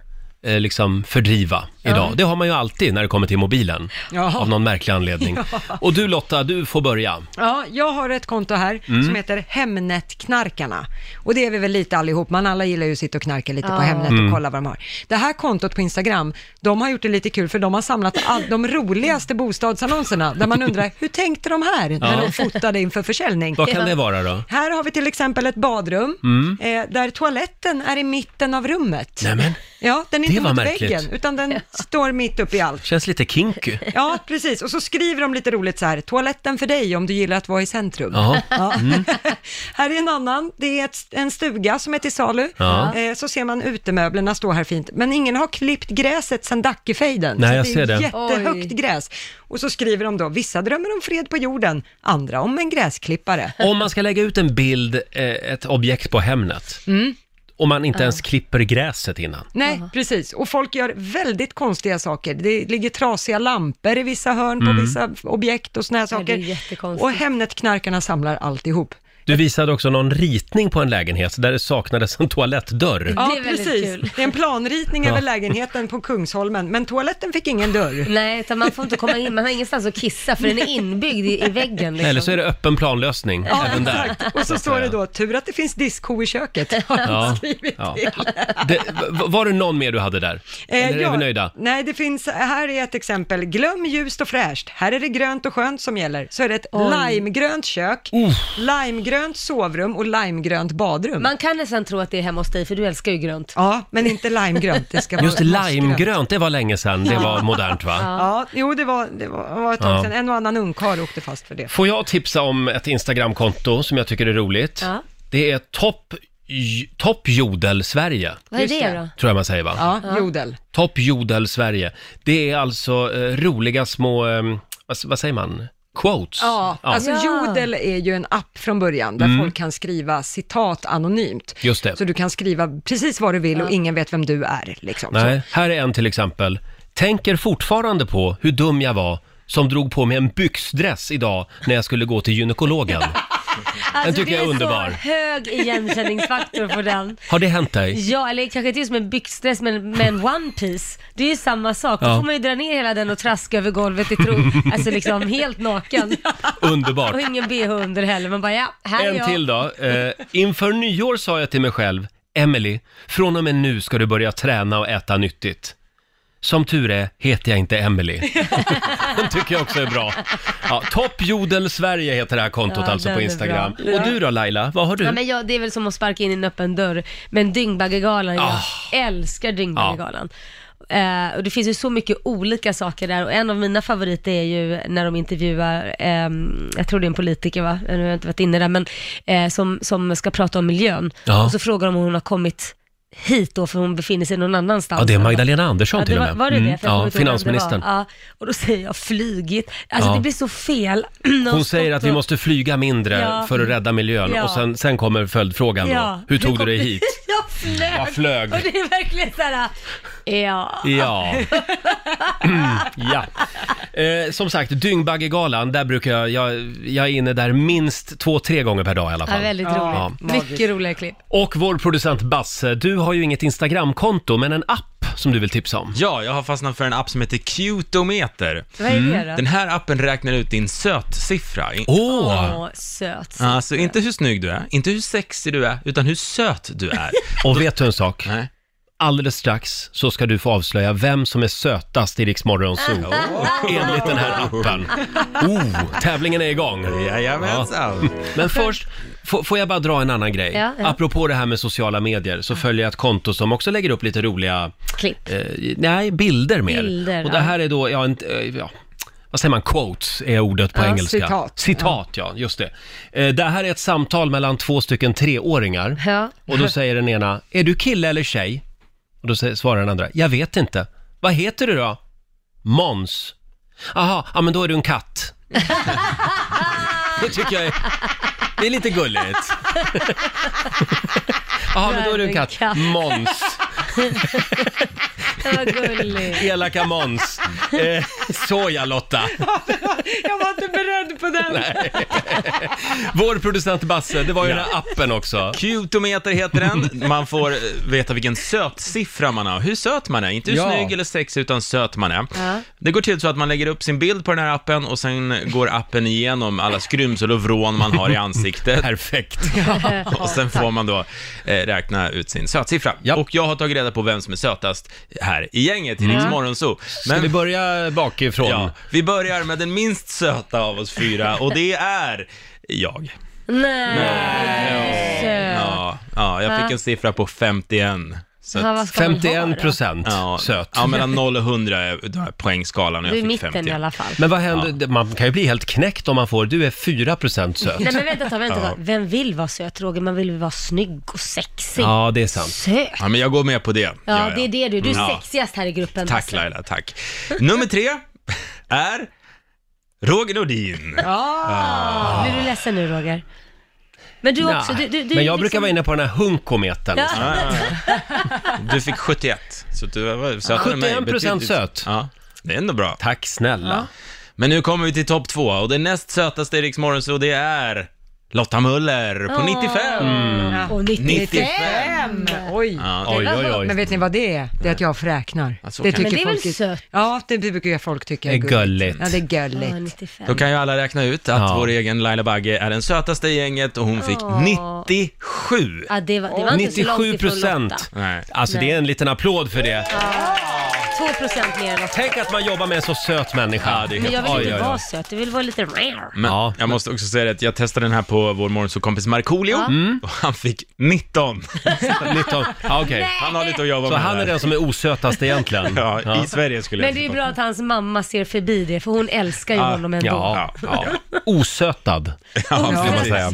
A: eh, liksom fördriva idag. Det har man ju alltid när det kommer till mobilen.
C: Ja.
A: Av någon märklig anledning. Och du Lotta, du får börja.
C: Ja, jag har ett konto här
A: Mm.
C: som heter Hemnetknarkarna. Och det är vi väl lite allihop, man alla gillar ju att sitta och knarka lite
B: Ja.
C: på Hemnet
A: Mm.
C: och kolla vad de har. Det här kontot på Instagram, de har gjort det lite kul för de har samlat all, de roligaste bostadsannonserna där man undrar, hur tänkte de här när
A: Ja.
C: de fotade inför försäljning?
A: Vad kan det vara då?
C: Här har vi till exempel ett badrum
A: Mm.
C: eh, där toaletten är i mitten av rummet.
A: Nämen,
C: Ja, den är
A: Det
C: inte
A: var
C: mot
A: märkligt.
C: väggen, utan den står mitt uppe i allt.
A: känns lite
C: [laughs]
A: kinky.
C: Ja, precis. Och så skriver de lite roligt så här, toaletten för dig om du gillar att vara i centrum.
A: Jaha.
C: Ja.
A: Mm.
C: [laughs] här är en annan, det är ett, en stuga som är till salu.
A: Ja.
C: Eh, så ser man utemöblerna stå här fint, men ingen har klippt gräset sedan Dackefejden.
A: Nej,
C: så
A: jag ser
C: det
A: det.
C: är jättehögt
B: Oj.
C: gräs. Och så skriver de då, vissa drömmer om fred på jorden, andra om en gräsklippare.
A: Om man ska lägga ut en bild, eh, ett objekt på Hemnet,
C: Mm.
A: om man inte ens klipper gräset innan.
C: Nej, precis. Och folk gör väldigt konstiga saker. Det ligger trasiga lampor i vissa hörn
A: Mm.
C: på vissa objekt och såna här
B: Ja, det är
C: saker.
B: jättekonstigt.
C: och Hemnetknarkarna samlar alltihop.
A: Du visade också någon ritning på en lägenhet där det saknades en toalettdörr.
C: Ja,
B: är väldigt
C: precis.
B: kul.
C: Det är en planritning
A: Ja.
C: över lägenheten på Kungsholmen, men toaletten fick
A: [laughs]
C: ingen dörr.
B: Nej, utan man får inte komma in, man har ingenstans att kissa för den är inbyggd i, i väggen. Liksom.
A: Eller så är det öppen planlösning
C: Ja,
A: även där.
C: exakt. Och så
A: att
C: står det
A: säga.
C: då, tur att det finns diskho i
A: [laughs]
C: köket, har de
A: Ja,
C: skrivit
A: ja.
C: till. Eh,
A: Det, v- var det någon mer du hade där? Eller är
C: ja,
A: vi nöjda?
C: Nej, det finns, här är ett exempel. Glöm ljust och fräscht. Här är det grönt och skönt som gäller. Så är det ett limegrönt kök, limegrönt sovrum och limegrönt badrum.
B: Man kan nästan tro att det är hemma hos dig, för du älskar ju grönt.
C: Ja, men inte limegrönt. Det ska vara
A: [laughs] Just
C: mossgrönt.
A: limegrönt, det var länge sedan. Det var modernt va?
C: Ja, jo det var, det var, det var ett tag
A: Ja.
C: sedan. En och annan ungkarl åkte fast för det.
A: Får jag tipsa om ett Instagramkonto som jag tycker är roligt?
B: Ja.
A: Det är topp, J- topp Jodel Sverige,
B: Vad är
C: Just
B: det
C: det.
B: då?
A: tror jag man säger va?
C: Ja, jodel.
A: Topp Jodel Sverige. Det är alltså eh, roliga små, eh, vad, s- vad säger man? Quotes?
C: Ja, alltså
B: Ja.
C: Jodel är ju en app från början där
A: Mm.
C: folk kan skriva citat anonymt.
A: Just det.
C: Så du kan skriva precis vad du vill och ingen vet vem du är. Liksom.
A: Nej, här är en till exempel. Tänker fortfarande på hur dum jag var som drog på mig en byxdress idag när jag skulle gå till
C: [laughs]
A: gynekologen.
B: Alltså,
A: tycker
B: det
A: jag är underbar.
B: så hög igenkänningsfaktor på den.
A: Har det hänt dig?
B: Ja, eller kanske inte just med byxdress, men med en one piece Det är ju samma sak. Då
A: Ja.
B: får man ju dra ner hela den och traska över golvet i tro.
A: [laughs]
B: Alltså liksom helt naken.
A: Underbart.
B: Och ingen bh under heller. Man bara, ja, här är
A: En
B: jag.
A: till då. Eh, inför nyår sa jag till mig själv, Emily, från och med nu ska du börja träna och äta nyttigt. Som tur är heter jag inte
B: [laughs]
A: Emily. Den tycker jag också är bra. Ja, Toppjodel Sverige heter det här kontot
B: Ja,
A: alltså
B: den
A: på
B: är
A: Instagram.
B: bra.
A: Och du då Laila, vad har du?
B: Ja, men jag, det är väl som att sparka in i en öppen dörr. Men Dyngbaggegalan, jag
A: Ah.
B: älskar Dyngbaggegalan. Eh, och det finns ju så mycket olika saker där och en av mina favoriter är ju när de intervjuar, ehm, jag tror det är en politiker va, nu har jag inte varit inne där, men eh, som, som ska prata om miljön.
A: Ja.
B: Och så frågar de om hon har kommit hit då för hon befinner sig någon annanstans.
A: Ja, det är Magdalena Andersson
B: ja, det
A: till och
B: var,
A: med.
B: Var det
A: Mm,
B: det? För jag
A: ja,
B: kommer inte ihåg vem det
A: finansministern.
B: var. Ja, och då säger jag flygit. Alltså
A: Ja.
B: det blir så fel. [clears throat] När de
A: Hon säger att vi
B: stått och-
A: måste flyga mindre
B: Ja.
A: för att rädda miljön
B: Ja.
A: och sen, sen kommer följdfrågan då. Hur tog
B: kom-
A: du dig hit?
B: [laughs] jag flög.
A: Jag flög.
B: Och det är verkligen så här, ja.
A: Ja. ja. Eh, som sagt, Dyngbaggegalan, där brukar jag, jag, jag är inne där minst två, tre gånger per dag i alla
B: ja
A: fall.
B: väldigt
A: Ja.
B: roligt. Mycket roliga klipp.
A: Och vår producent Basse, du har ju inget Instagramkonto, men en app som du vill tipsa om.
J: Ja, jag har fastnat för en app som heter Cutometer.
B: Vad är
A: Mm.
B: det då?
J: Den här appen räknar ut din sötsiffra. I-
B: Åh, söt.
J: Alltså inte hur snygg du är, inte hur sexig du är, utan hur söt
A: [laughs]
J: du är.
A: Och vet du en sak? Alldeles strax så ska du få avslöja vem som är sötast i Rix Morgon Zoo. Enligt den här appen. Oh, tävlingen är igång.
J: Jajamensan.
A: Men först, f- får jag bara dra en annan grej?
B: Ja, ja.
A: Apropå det här med sociala medier så följer jag ett konto som också lägger upp lite roliga,
B: Klipp.
A: eh, nej, bilder mer.
B: Bilder,
A: Och det
B: ja.
A: här är då, ja, en, eh, ja vad säger man, quotes är ordet på
C: Ja,
A: engelska.
C: citat.
A: Citat, ja. just det. Eh, det här är ett samtal mellan två stycken treåringar.
B: [laughs] Ja.
A: Och då säger den ena, är du kille eller tjej? Och då säger, svarar den andra, jag vet inte. Vad heter du då? Måns. Aha, ja men då är du en katt. det tycker jag är, det är lite gulligt. [laughs] Jaha, men då är du en katt. Måns.
B: Vad gulligt.
A: Elaka Måns. Eh, Såja Lotta.
C: [laughs] Jag var inte beredd på den.
A: [laughs] Vår producent Basse, det var ju den här appen också.
J: Cutometer heter den. Man får eh, veta vilken sötsiffra man har. Hur söt man är. Inte hur
A: Ja.
J: snygg eller sexig, utan söt man är.
B: Ja.
J: Det går till så att man lägger upp sin bild på den här appen och sen går appen igenom alla skrymsel och vrån man har i ansiktet.
A: Perfekt.
J: Och sen får man då eh, räkna ut sin sötsiffra.
A: Ja.
J: Och jag har tagit reda på vem som är sötast här i gänget i
B: Mm.
J: Rix Morgonzoo.
A: Ska vi börja bakifrån?
J: ja, vi börjar med den minst söta av oss fyra och det är jag.
B: Nej, söt.
J: Ja, ja jag fick en siffra på 51. Så
B: Ja,
J: att,
B: vad ska man ha
A: 51
B: då?
A: procent
J: ja,
A: söt.
J: Ja, mellan 0 och 100 är den här poängskalan och
B: Du är
J: jag
B: i
J: fick
B: mitten
J: 51.
B: i alla fall.
A: Men vad händer? Man kan ju bli helt knäckt om man får, du är 4 procent söt.
B: [laughs] Nej men vänta ett tag, vänta ett tag. Vem vill vara söt Roger? Man vill väl vara snygg och sexig.
A: Ja, det är sant.
B: Söt.
J: Ja, men jag går med på det.
B: Ja, det är det du. Du är
J: Mm, ja.
B: sexigast här i gruppen.
J: Tack
B: Basse.
J: Laila, tack. Nummer tre är Roger Nordin.
B: Blir du ledsen Ah. nu Roger? Men du också, du,
A: Ah. Nej,
B: du, du
A: men jag
B: liksom-
A: brukar vara inne på den här hunkometern.
B: Ja.
J: Du fick 71, så du var sötare än mig.
A: 71%
J: Betydligt-
A: söt.
J: Ja, det är ändå bra.
A: Tack snälla.
J: Men nu kommer vi till topp två och det näst sötaste i Rix Morgon, så det är Lotta Möller på 95.
B: Och 95.
J: 95.
C: Oj.
J: Ja,
A: Oj, oj,
C: Men
A: oj.
C: vet ni vad det är? Det är att jag fräknar.
J: så
C: det
J: kan
B: det. Men det är väl
C: folk är-
B: sött?
C: Ja, det brukar ju folk tycka
A: Det är gulligt.
C: Ja, det är gulligt.
B: Ja, 95.
J: Då kan ju alla räkna ut att
A: Ja.
J: vår egen Laila Bagge är den sötaste i gänget och hon fick
B: Ja.
J: 97.
B: Ja, det var, det var inte så
A: 97
B: långt ifrån
A: procent.
B: Lotta.
J: Nej.
A: Alltså
B: Nej.
A: det är en liten applåd för det.
B: 2 procent mer än Lotta.
A: Tänk att man jobbar med en så söt människa. Ja, det
B: Men jag vill inte vara söt, jag vill vara lite rare.
J: Men
A: Ja.
J: jag måste också säga det att jag testade den här på vår morgonsåkompis Markoolio
A: Mm.
J: och han fick 19.
A: [laughs] 19. Ja, okej.
J: Han har lite att jobba
A: Så
J: med
A: han är
J: där.
A: den som är osötast egentligen.
J: Ja, i Sverige skulle
B: Men
J: jag
B: det är ju
J: säga.
B: bra att hans mamma ser förbi det, för hon älskar ju honom ändå.
A: Ah, Ja, ja. Osötad,
J: Ja,
A: skulle man
J: precis.
A: säga.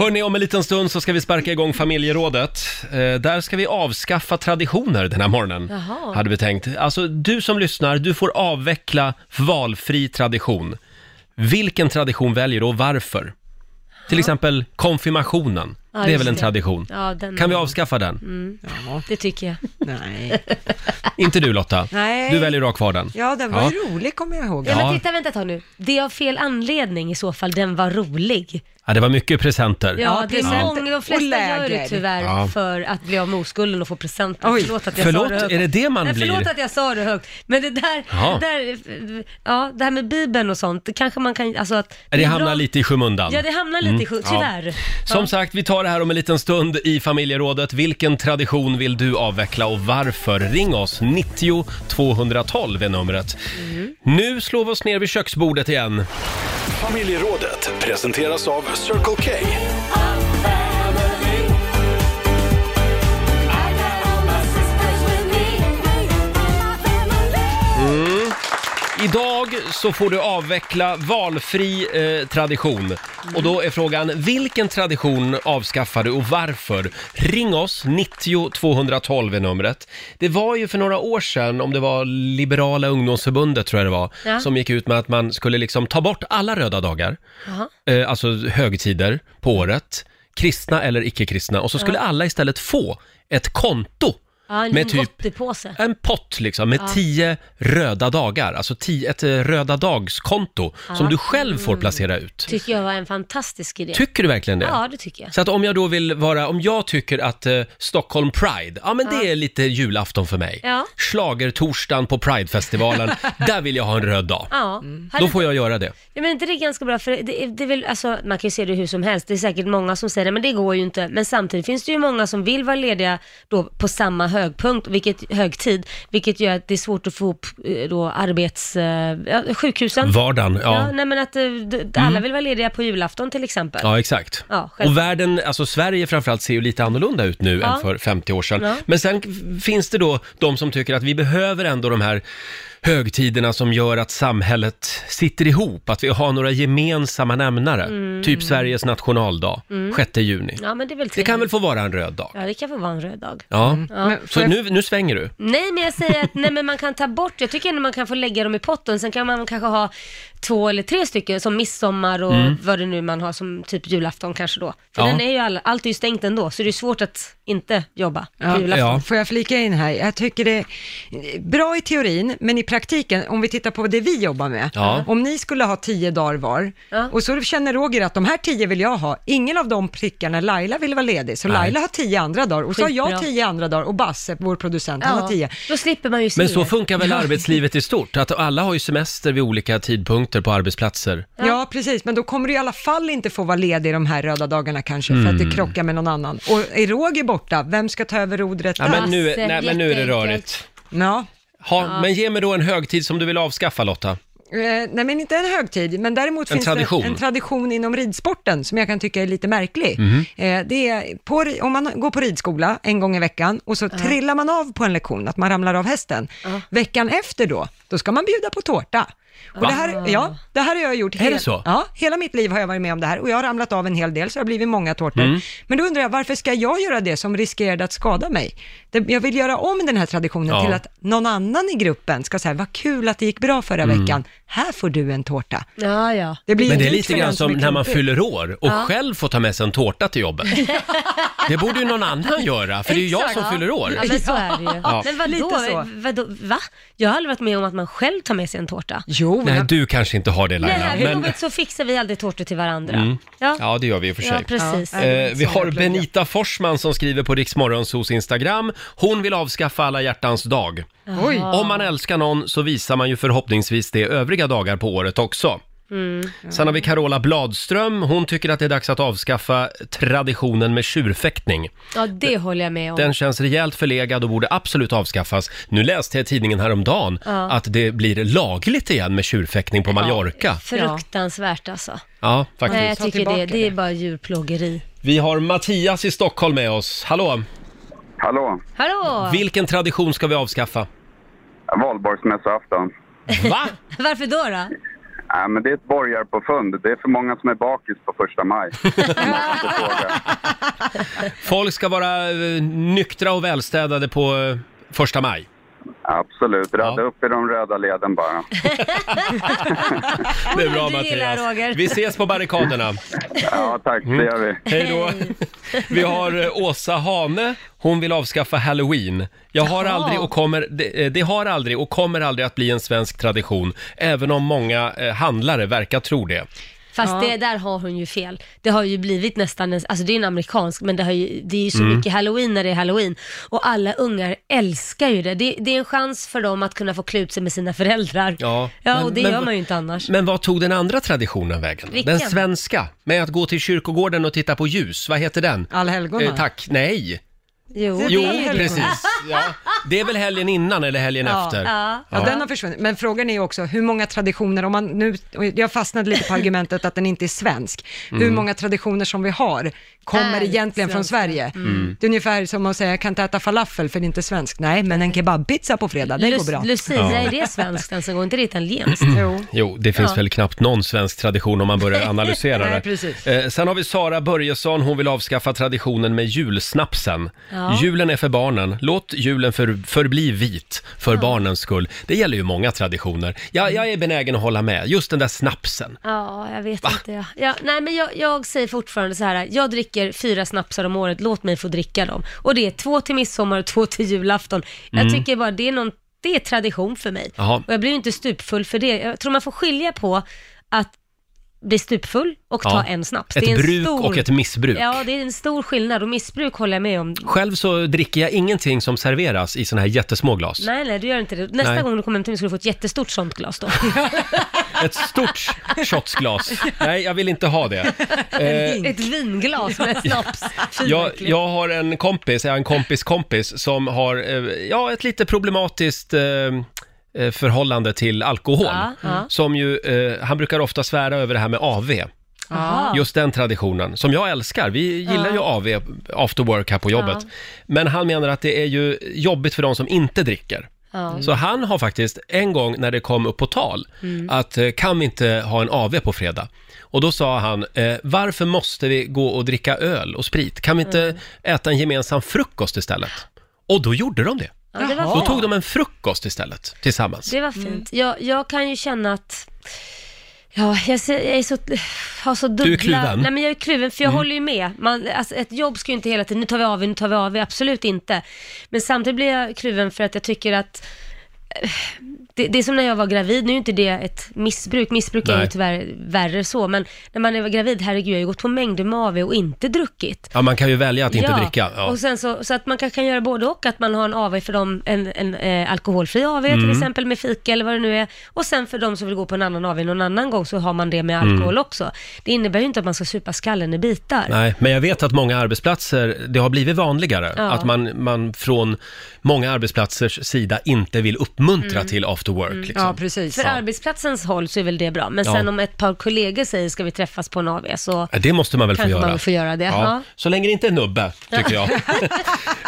A: Hörni, om en liten stund så ska vi sparka igång familjerådet. Eh, där ska vi avskaffa traditioner den här morgonen,
B: Jaha.
A: hade vi tänkt. Alltså, du som lyssnar, du får avveckla valfri tradition. Vilken tradition väljer du och varför? Till exempel konfirmationen.
B: Ja,
A: det är
B: just
A: väl en
B: det.
A: tradition?
B: Ja, Mm. den,
A: Kan vi avskaffa den?
B: Det tycker jag.
C: Nej.
A: Inte du Lotta?
C: Nej.
A: Du väljer att ha kvar den.
C: Ja, den var ju rolig kommer jag ihåg.
B: Ja,
A: Ja.
B: men titta, vänta ett tag nu. Det är av fel anledning i så fall, den var rolig.
A: Ja, det var mycket presenter.
B: Ja, det är
A: Ja.
B: många, de flesta
C: Och
B: gör
C: läger.
B: det tyvärr
A: Ja.
B: för att bli av med oskulden och få presenter.
A: Oj.
B: Förlåt att jag
A: Förlåt,
B: sa det högt.
A: är det det man
B: Nej, Förlåt
A: blir?
B: att jag sa det högt. Men det där,
A: Ja.
B: där, ja, det här med Bibeln och sånt, det kanske man kan, alltså att...
A: Det,
B: är bra-
A: hamnar lite i skymundan.
B: Ja, det hamnar lite i sju,
A: Mm. Ja.
B: tyvärr.
A: Som
B: ja.
A: sagt, vi tar det här om en liten stund i familjerådet. Vilken tradition vill du avveckla och varför? Ring oss, 90 212 är numret. Nu slår vi oss ner vid köksbordet igen.
E: Familjerådet presenteras av Circle K.
A: Mm. Idag så får du avveckla valfri eh, tradition. Och då är frågan, vilken tradition avskaffar du och varför? Ring oss, 90 212 är numret. Det var ju för några år sedan, om det var Liberala ungdomsförbundet tror jag det var,
B: Ja.
A: som gick ut med att man skulle liksom ta bort alla röda dagar,
B: Jaha.
A: eh, alltså högtider på året, kristna eller icke-kristna, och så skulle
B: Ja.
A: alla istället få ett konto
B: Ja, en
A: med
B: liten
A: typ
B: gottepåse.
A: en pott liksom med
B: Ja.
A: tio röda dagar, alltså tio, ett eh, röda dagskonto som
B: Ja. Mm.
A: du själv får placera ut.
B: Tycker jag var en fantastisk idé.
A: Tycker du verkligen det?
B: Ja, det tycker jag.
A: Så att om jag då vill vara, om jag tycker att eh, Stockholm Pride, ja men det
B: Ja.
A: är lite julafton för mig.
B: Ja.
A: Schlagertorsdagen på
B: [laughs]
A: Pridefestivalen, där vill jag ha en röd dag.
B: Ja.
A: Då får jag göra det.
B: Ja, men inte det är ganska bra för det, är- det är väl, alltså, man kan ju se det hur som helst. Det är säkert många som säger det, men det går ju inte. Men samtidigt finns det ju många som vill vara lediga då på samma högpunkt, vilket, högtid, vilket gör att det är svårt att få upp eh, då arbets... eh, ja, sjukhusen.
A: Vardagen, ja. Mm.
B: nej men att eh, d- d- alla vill vara lediga på julafton till exempel.
A: Ja, exakt.
B: Ja, själv-
A: och världen, alltså Sverige framförallt, ser ju lite annorlunda ut nu
B: Ja.
A: än för 50 år sedan.
B: Ja.
A: Men sen f- finns det då de som tycker att vi behöver ändå de här högtiderna som gör att samhället sitter ihop, att vi har några gemensamma nämnare.
B: Mm.
A: Typ Sveriges nationaldag,
B: Mm.
A: 6 juni.
B: Ja, men det är väl
A: Det kan väl
B: trevligt.
A: få vara en röd dag?
B: Ja, det kan få vara en röd dag.
A: Ja.
B: Mm. Ja. Men får
A: Så
B: jag-
A: nu, nu svänger du?
B: Nej, men jag säger att nej, men man kan ta bort, jag tycker ändå man kan få lägga dem i potten, sen kan man kanske ha två eller tre stycken som midsommar och
A: Mm.
B: vad det nu man har som typ julafton kanske då. För
C: Ja.
B: den är ju all, allt är ju stängt ändå, så det är svårt att inte jobba på
C: Ja.
B: julafton.
C: Ja. Får jag flika in här? Jag tycker det är bra i teorin, men i praktiken, om vi tittar på det vi jobbar med,
B: Ja.
C: om ni skulle ha tio dagar var, och så känner Roger att de här tio vill jag ha, ingen av de prickarna, Laila vill vara ledig, så
A: Nej.
C: Laila har tio andra dagar, och så har jag
B: Skitbra.
C: tio andra dagar, och Basse, vår producent, han
B: Ja,
C: har tio.
B: Då slipper man ju se
A: Men så
B: det.
A: funkar väl arbetslivet i stort? Att alla har ju semester vid olika tidpunkter på arbetsplatser.
C: Ja. precis, men då kommer du i alla fall inte få vara ledig de här röda dagarna kanske, för att
A: Mm.
C: det krockar med någon annan. Och är Roger borta, vem ska ta över rodret
A: Ja, men nu,
B: Alltså,
A: nej, men nu är det rörigt.
C: Ja.
A: Ha,
C: Ja.
A: Men ge mig då en högtid som du vill avskaffa Lotta.
C: Eh, nej, men inte en högtid, men däremot
A: En
C: finns
A: tradition.
C: det en tradition inom ridsporten som jag kan tycka är lite märklig.
A: Mhm.
C: Eh, det är på, om man går på ridskola en gång i veckan och så trillar man av på en lektion, att man ramlar av hästen. Veckan efter då, då ska man bjuda på tårta. Och
A: Va?
C: det, här, ja, det här har jag gjort
A: Är det så?
C: Ja, hela mitt liv har jag varit med om det här och jag har ramlat av en hel del så det har blivit många tårtor.
A: Mm.
C: Men då undrar jag, varför ska jag göra det som riskerade att skada mig? Det- Jag vill göra om den här traditionen
A: Ja.
C: till att någon annan i gruppen ska säga, vad kul att det gick bra förra
A: Mm.
C: veckan, här får du en tårta.
B: Ja, ja.
C: Det blir
A: men
C: ju
A: det är
C: dyrt
A: lite
C: för
A: grann
C: den som
A: som
C: är
A: när man
C: klumpig.
A: fyller år och
C: Ja.
A: själv får ta med sig en tårta till
B: [laughs]
A: jobbet. Det borde ju någon annan göra, för det är ju jag
B: Exakt.
A: som fyller år.
B: Ja, men så är det ju.
A: Ja.
B: Men vadå,
C: Lite så.
B: vadå, va? Jag har aldrig varit med om att man själv tar med sig en tårta.
C: Jo,
A: Nej, du kanske inte har det
B: Nej,
A: Laila.
B: här men... jobbet så fixar vi aldrig tårtor till varandra.
A: Mm.
B: Ja.
A: Ja, det gör vi i och för sig.
B: Ja, precis. Ja, det var
A: Eh,
B: inte
A: vi
B: så
A: har
B: jag pluggade.
A: Benita Forsman som skriver på Riksmorgonsos Instagram. Hon vill avskaffa alla hjärtans dag.
B: Oj.
A: Om man älskar någon så visar man ju förhoppningsvis det övriga dagar på året också.
B: Mm.
A: Sen har vi Carola Bladström. Hon tycker att det är dags att avskaffa traditionen med tjurfäktning.
B: Ja, det håller jag med om.
A: Den känns rejält förlegad och borde absolut avskaffas. Nu läste jag i tidningen häromdagen
B: Ja.
A: att det blir lagligt igen med tjurfäktning på Mallorca. Ja,
B: Fruktansvärt alltså.
A: faktiskt.
B: Nej, jag tycker det, det är bara djurplågeri.
A: Vi har Mattias i Stockholm med oss. Hallå!
K: Hallå.
B: Hallå!
A: Vilken tradition ska vi avskaffa?
K: Valborgsmässoafton.
A: Va?
B: Varför då då?
K: Nej, men det är ett borgarpåfund. Det är för många som är bakis på första
B: [laughs]
K: maj.
A: Folk ska vara eh, nyktra och välstädade på eh, första maj.
K: Absolut. Radda upp i de röda leden bara.
A: Det är bra
K: Du gillar,
A: Mattias.
K: Roger.
A: Vi ses på
B: [laughs]
A: barrikaderna.
B: Mm.
K: Ja, tack. Det gör vi.
A: Hej då. Vi har eh, Åsa Hane. Hon vill avskaffa halloween. Jag har
L: Jaha.
A: aldrig och kommer, det, eh, det har aldrig och kommer aldrig att bli en svensk tradition, även om många eh, handlare verkar tro det.
B: Fast
M: Ja.
B: det, där har hon ju fel. Det har ju blivit nästan, en, alltså det är en amerikansk, men det, har ju, det är ju så
M: Mm.
B: mycket halloween när det är halloween. Och alla ungar älskar ju det. det. Det är en chans för dem att kunna få klä ut sig med sina föräldrar.
A: Ja,
B: Ja,
A: men-
B: och det
A: men-
B: gör man ju inte annars.
A: Men vad tog den andra traditionen vägen?
B: Vilken?
A: Den svenska, med att gå till kyrkogården och titta på ljus. Vad heter den?
C: Allhelgona.
A: Eh, tack, nej.
B: Jo,
A: Jo, precis. Ja. Det är väl helgen innan eller helgen efter?
C: Ja. Ja, den har försvunnit. Men frågan är ju också hur många traditioner, om man nu, jag fastnade lite på argumentet att den inte är svensk, hur
A: Mm.
C: många traditioner som vi har kommer
B: Är
C: egentligen från
B: svenska.
C: Sverige.
B: Mm.
C: Det är ungefär som att säga, jag kan inte äta falafel för det är inte svenskt. Nej, men en kebabpizza på fredag, det går
B: Lus,
C: bra.
B: Lucia,
A: Ja.
B: är det svenskt ens en gång? Inte det italienskt?
C: jo.
A: [clears throat] Jo, det finns
B: Ja.
A: väl knappt någon svensk tradition om man börjar analysera det.
B: [laughs] Nej, precis.
A: Eh, sen har vi Sara Börjesson, hon vill avskaffa traditionen med julsnapsen.
B: Ja.
A: Julen är för barnen, låt julen för, förbli vit för barnens skull. Det gäller ju många traditioner. Jag, jag är benägen att hålla med, just den där snapsen.
B: Ja, jag vet inte. Ja. Ja, nej, men jag, jag säger fortfarande så här, jag dricker fyra snapsar om året, låt mig få dricka dem. Och det är två till midsommar och två till julafton. Jag
A: Mm.
B: tycker bara det är, någon, det är tradition för mig.
A: Jaha.
B: Och jag blir ju inte stupfull för det. Jag tror man får skilja på att bli stupfull och ta
A: Ja.
B: en snaps.
A: Ett
B: det är en
A: bruk och ett missbruk.
B: Ja, det är en stor skillnad och missbruk håller jag med om.
A: Själv så dricker jag ingenting som serveras i såna här jättesmå glas.
B: Nej, nej, du gör inte det. Nästa
A: Nej.
B: gång du kommer hem till mig ska du få ett jättestort sånt
A: [laughs]
B: glas då.
A: Ett stort
B: [laughs]
A: shotsglas. Nej, jag vill inte ha det. Eh,
B: ett vinglas med snaps. Fy,
A: Jag,
B: verkligen.
A: jag har en kompis, jag har en kompis kompis som har, eh, ja, ett lite problematiskt eh, eh, förhållande till alkohol.
B: Ja, ja.
A: Som ju, eh, han brukar ofta svära över det här med AV.
B: Aha.
A: Just den traditionen, som jag älskar. Vi gillar
B: Ja.
A: ju AV after work här på jobbet.
B: Ja.
A: Men han menar att det är ju jobbigt för de som inte dricker.
B: Ja.
A: Så han har faktiskt en gång när det kom upp på tal
B: Mm.
A: att eh, kan vi inte ha en AV på fredag? Och då sa han, eh, varför måste vi gå och dricka öl och sprit? Kan vi inte
B: Mm.
A: äta en gemensam frukost istället? Och då gjorde de det.
B: Ja, det var
A: då
B: fint.
A: tog de en frukost istället, tillsammans.
B: Det var fint. Jag, jag kan ju känna att Ja, jag, ser, jag är så, har så dubbla...
A: Du är kluven.
B: Nej, men jag är kluven, för jag
A: Mm.
B: håller ju med. Man, alltså, ett jobb ska ju inte hela tiden, nu tar vi av, nu tar vi av, absolut inte. Men samtidigt blir jag kluven för att jag tycker att... eh, Det, det är som när jag var gravid, nu är ju inte det ett missbruk, missbruk är ju
A: Nej.
B: tyvärr värre så, men när man är gravid, herregud, jag har ju gått på mängder med AV och inte druckit.
A: Ja, man kan ju välja att inte
B: Ja,
A: dricka. Ja.
B: Och sen så, så att man kan, kan göra både och, att man har en AV för dem, en, en eh, alkoholfri AV till
A: Mm.
B: exempel med fika eller vad det nu är. Och sen för dem som vill gå på en annan AV någon annan gång så har man det med
A: Mm.
B: alkohol också. Det innebär ju inte att man ska supa skallen i bitar.
A: Nej, men jag vet att många arbetsplatser, det har blivit vanligare
B: Ja.
A: att man, man från många arbetsplatsers sida inte vill uppmuntra
B: Mm.
A: till after work.
B: Mm.
A: Liksom.
B: För arbetsplatsens håll så är väl det bra, men
A: Ja.
B: sen om ett par kollegor säger ska vi träffas på en AV så
A: Ja, Det måste man väl få
B: Kanske
A: göra?
B: man får göra det, ja.
A: Så länge det inte är nubbe, tycker
B: [laughs]
A: jag.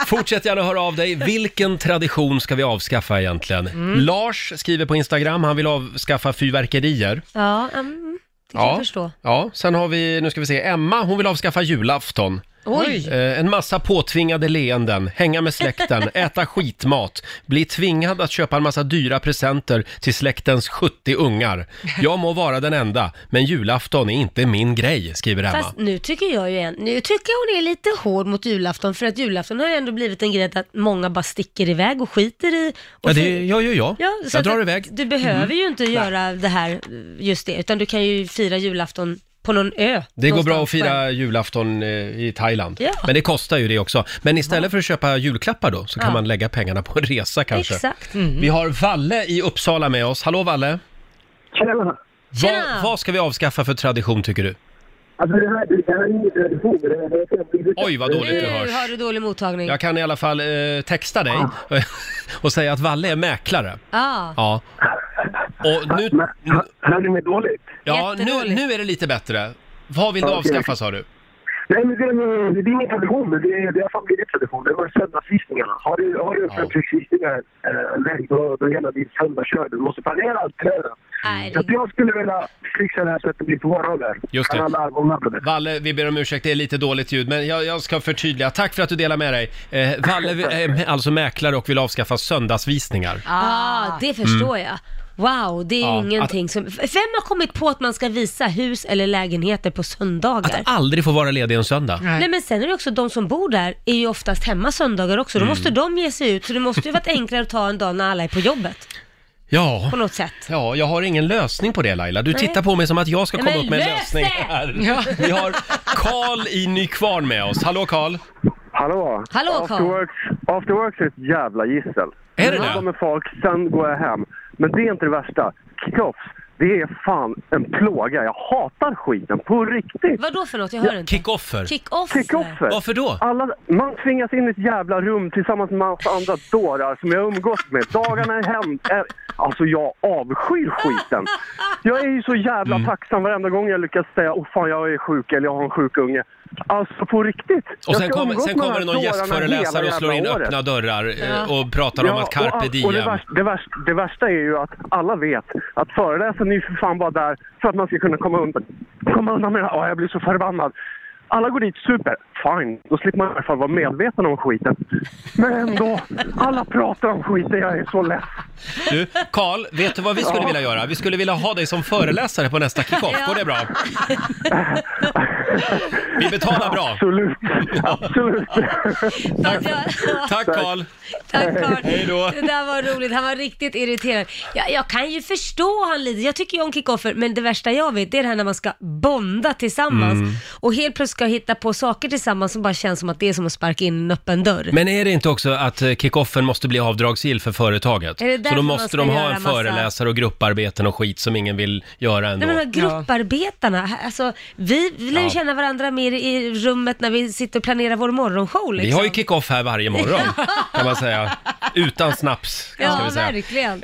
A: Fortsätt gärna höra av dig. Vilken tradition ska vi avskaffa egentligen?
B: Mm.
A: Lars skriver på Instagram, han vill avskaffa fyrverkerier.
B: ja, mm, det kan jag förstå.
A: ja, sen har vi, nu ska vi se, Emma, hon vill avskaffa julafton.
B: Oj.
A: Eh, en massa påtvingade leenden, hänga med
B: [laughs]
A: släkten, äta skitmat, bli tvingad att köpa en massa dyra presenter till släktens 70 ungar. Jag må vara den enda, men julafton är inte min grej, skriver Emma.
B: Fast nu tycker jag ju en, nu tycker jag hon är lite hård mot julafton för att julafton har ju ändå blivit en grej att många bara sticker iväg och skiter i. Och
A: Ja,
B: så-
A: det gör ju jag.
B: Ja, så
A: jag
B: att
A: drar
B: du-
A: iväg.
B: Du behöver
A: Mm.
B: ju inte göra det här, just det, utan du kan ju fira julafton på någon ö.
A: Det går
B: någonstans
A: bra att
B: själv.
A: fira julafton eh, i Thailand.
B: Ja.
A: Men det kostar ju det också. Men istället för att köpa julklappar då, så kan
B: Ja.
A: man lägga pengarna på en resa kanske.
B: Exakt. Mm.
A: Vi har Valle i Uppsala med oss. Hallå Valle!
L: Tjena!
A: Vad, vad ska vi avskaffa för tradition tycker du?
L: Alltså det här, det här är ingen tradition. Det här är-
A: Oj, vad dåligt du hörs.
B: Nu har du dålig mottagning.
A: Jag kan i alla fall eh, texta dig [laughs] och säga att Valle är mäklare.
B: Ah.
A: Ja. Och nu...
L: Hörde ni mig dåligt?
A: Ja, nu, nu är det lite bättre. Vad vill du
L: Okej.
A: avskaffa sa du?
L: Nej, men det, är- det är ingen tradition, men det, är- det har fan blivit tradition. Det var söndagsvisningarna. Har du, har du öppnat för visningar, eh, nej, då, då är hela ditt söndagskör. Du måste planera allt kläder. Så att jag skulle vilja fixa det här så att det blir på morgonen.
A: Just
L: Kan alla ögonen på det.
A: det. Valle, vi ber om ursäkt, det är lite dåligt ljud, men jag, jag ska förtydliga. Tack för att du delar med dig. Eh,
L: [laughs]
A: Valle är alltså mäklare och vill avskaffa söndagsvisningar.
B: Ah, det förstår
A: Mm.
B: jag. Wow, det är
A: Ja,
B: ingenting som... Vem har kommit på att man ska visa hus eller lägenheter på söndagar?
A: Aldrig få vara ledig en söndag.
B: Nej. men sen är det också de som bor där är ju oftast hemma söndagar också. Då
A: Mm.
B: måste de ge sig ut, så det måste ju varit enklare att ta en dag när alla är på jobbet.
A: Ja.
B: på något sätt.
A: Ja, jag har ingen lösning på det Laila. Du
B: Nej.
A: tittar på mig som att jag ska
B: Nej,
A: komma
B: men
A: upp med en
B: lös
A: lösning
B: det!
A: här.
B: Ja.
A: Vi har Karl i Nykvarn med oss. Hallå Karl!
N: Hallå!
B: Hallå, Carl.
N: Afterworks, Afterworks är ett jävla gissel.
A: Är det
N: Sen
A: det?
N: kommer folk, sen går jag hem. Men det är inte det värsta. Kickoffs, det är fan en plåga. Jag hatar skiten, på riktigt.
B: Vad då för något? Jag hör inte.
A: Kickoffer.
B: Kick-offer.
N: Kickoffer.
A: Varför då?
N: Alla, man tvingas in i ett jävla rum tillsammans med massa andra dårar som jag umgås med. Dagarna är hem. Är, alltså jag avskyr skiten. Jag är ju så jävla tacksam varenda gång jag lyckas säga åh fan jag är sjuk eller jag har en sjuk unge. Alltså på riktigt.
A: Och
N: Jag
A: sen,
N: ska
A: kommer-
N: umgås
A: sen
N: med
A: kommer
N: de
A: det
N: här
A: någon
N: dårarna
A: gästföreläsare och
N: hela
A: slår in
N: jävla året.
A: öppna dörrar eh,
N: Ja.
A: och pratar om
N: Ja,
A: att carpe
N: och, all- och det,
A: diem.
N: värsta, det, värsta, det värsta är ju att alla vet att föreläsaren är ju för fan bara där för att man ska kunna komma undan, komma undan med det här. Åh, jag blir så förbannad. Alla går dit super. Fine, då slipper man i alla fall vara medveten om skiten. Men ändå, alla pratar om skiten. Jag är så less.
A: Du, Karl, vet du vad vi skulle vilja göra? Vi skulle vilja ha dig som föreläsare på nästa kickoff. Går
N: [laughs]
A: det bra? Vi betalar bra.
N: Absolut. Absolut.
A: Tack Karl.
B: Tack Carl.
A: Hej då.
B: Det där var roligt. Han var riktigt irriterad. Jag, jag kan ju förstå han lite. Jag tycker ju om kickoffer, men det värsta jag vet det är det här när man ska bonda tillsammans
A: Mm.
B: och helt plötsligt ska hitta på saker tillsammans som bara känns som att det är som att sparka in en öppen dörr.
A: Men är det inte också att eh, kickoffen måste bli avdragsgill för företaget?
B: Är det
A: Så
B: därför
A: då
B: man
A: måste
B: ska
A: de ha
B: göra
A: en
B: massa-
A: föreläsare och grupparbeten och skit som ingen vill göra ändå.
B: Nej, men de här grupparbetarna, här- alltså, vi vi lär ju
A: Ja.
B: känna varandra mer i rummet när vi sitter och planerar vår morgonshow. Liksom.
A: Vi har ju kick-off här varje
B: [laughs]
A: morgon, kan man säga. Utan snaps, ska
B: Ja,
A: vi säga.
B: verkligen.
A: Eh,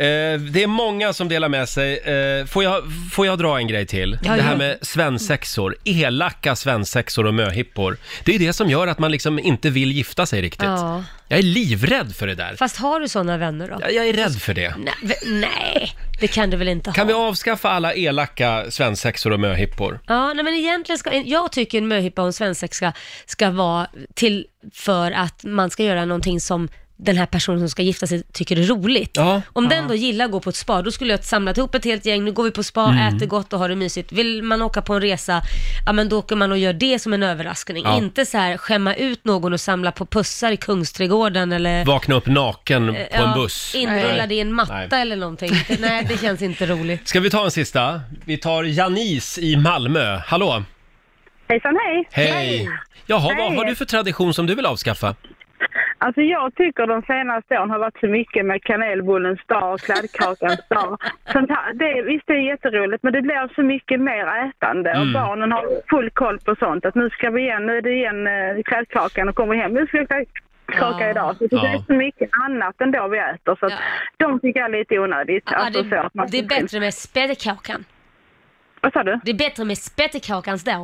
A: det är många som delar med sig. Eh, får, jag, får jag dra en grej till?
B: Ja,
A: det här
B: ja.
A: med svensexor. Elaka svensexor och möhippor. Det är det som gör att man liksom inte vill gifta sig riktigt.
B: Ja.
A: Jag är livrädd för det där.
B: Fast har du sådana vänner då?
A: Jag, jag är rädd för det.
B: Nej, v- nej, det kan du väl inte ha?
A: Kan vi avskaffa alla elaka svensexor och möhippor?
B: Ja, nej, men egentligen ska, jag tycker en möhippa och en svensexa ska vara till för att man ska göra någonting som den här personen som ska gifta sig tycker är roligt. Om den då gillar att gå på ett spa, då skulle jag samlat ihop ett helt gäng, nu går vi på spa,
A: Mm.
B: äter gott och har det mysigt. Vill man åka på en resa, ja men då åker man och gör det som en överraskning.
A: Ja.
B: Inte så här skämma ut någon och samla på pussar i Kungsträdgården eller
A: Vakna upp naken på
B: Ja,
A: en buss.
B: Inrullad
A: Nej.
B: i en matta
A: Nej.
B: eller någonting. Det- Nej, det känns inte roligt.
A: Ska vi ta en sista? Vi tar Janice i Malmö. Hallå!
O: Hejsan hej!
A: Hej! Jaha, vad
O: Hej.
A: har du för tradition som du vill avskaffa?
O: Alltså jag tycker de senaste åren har varit så mycket med kanelbullens dag och kladdkakans dag. Sånt här, det, visst det är jätteroligt men det blir så mycket mer ätande och
P: Mm.
O: barnen har full koll på sånt. Att nu ska vi igen, nu är det igen eh, kladdkakan och kommer hem. Nu ska vi kladdkaka
P: Ja.
O: idag. Så det
P: Ja.
O: är så mycket annat än då vi äter. Så att de tycker jag är lite onödigt.
B: Ja,
O: alltså, så
B: det,
O: att man-
B: det är bättre med spädekakan.
O: Vad sa du?
B: Det är bättre med spettekakans då.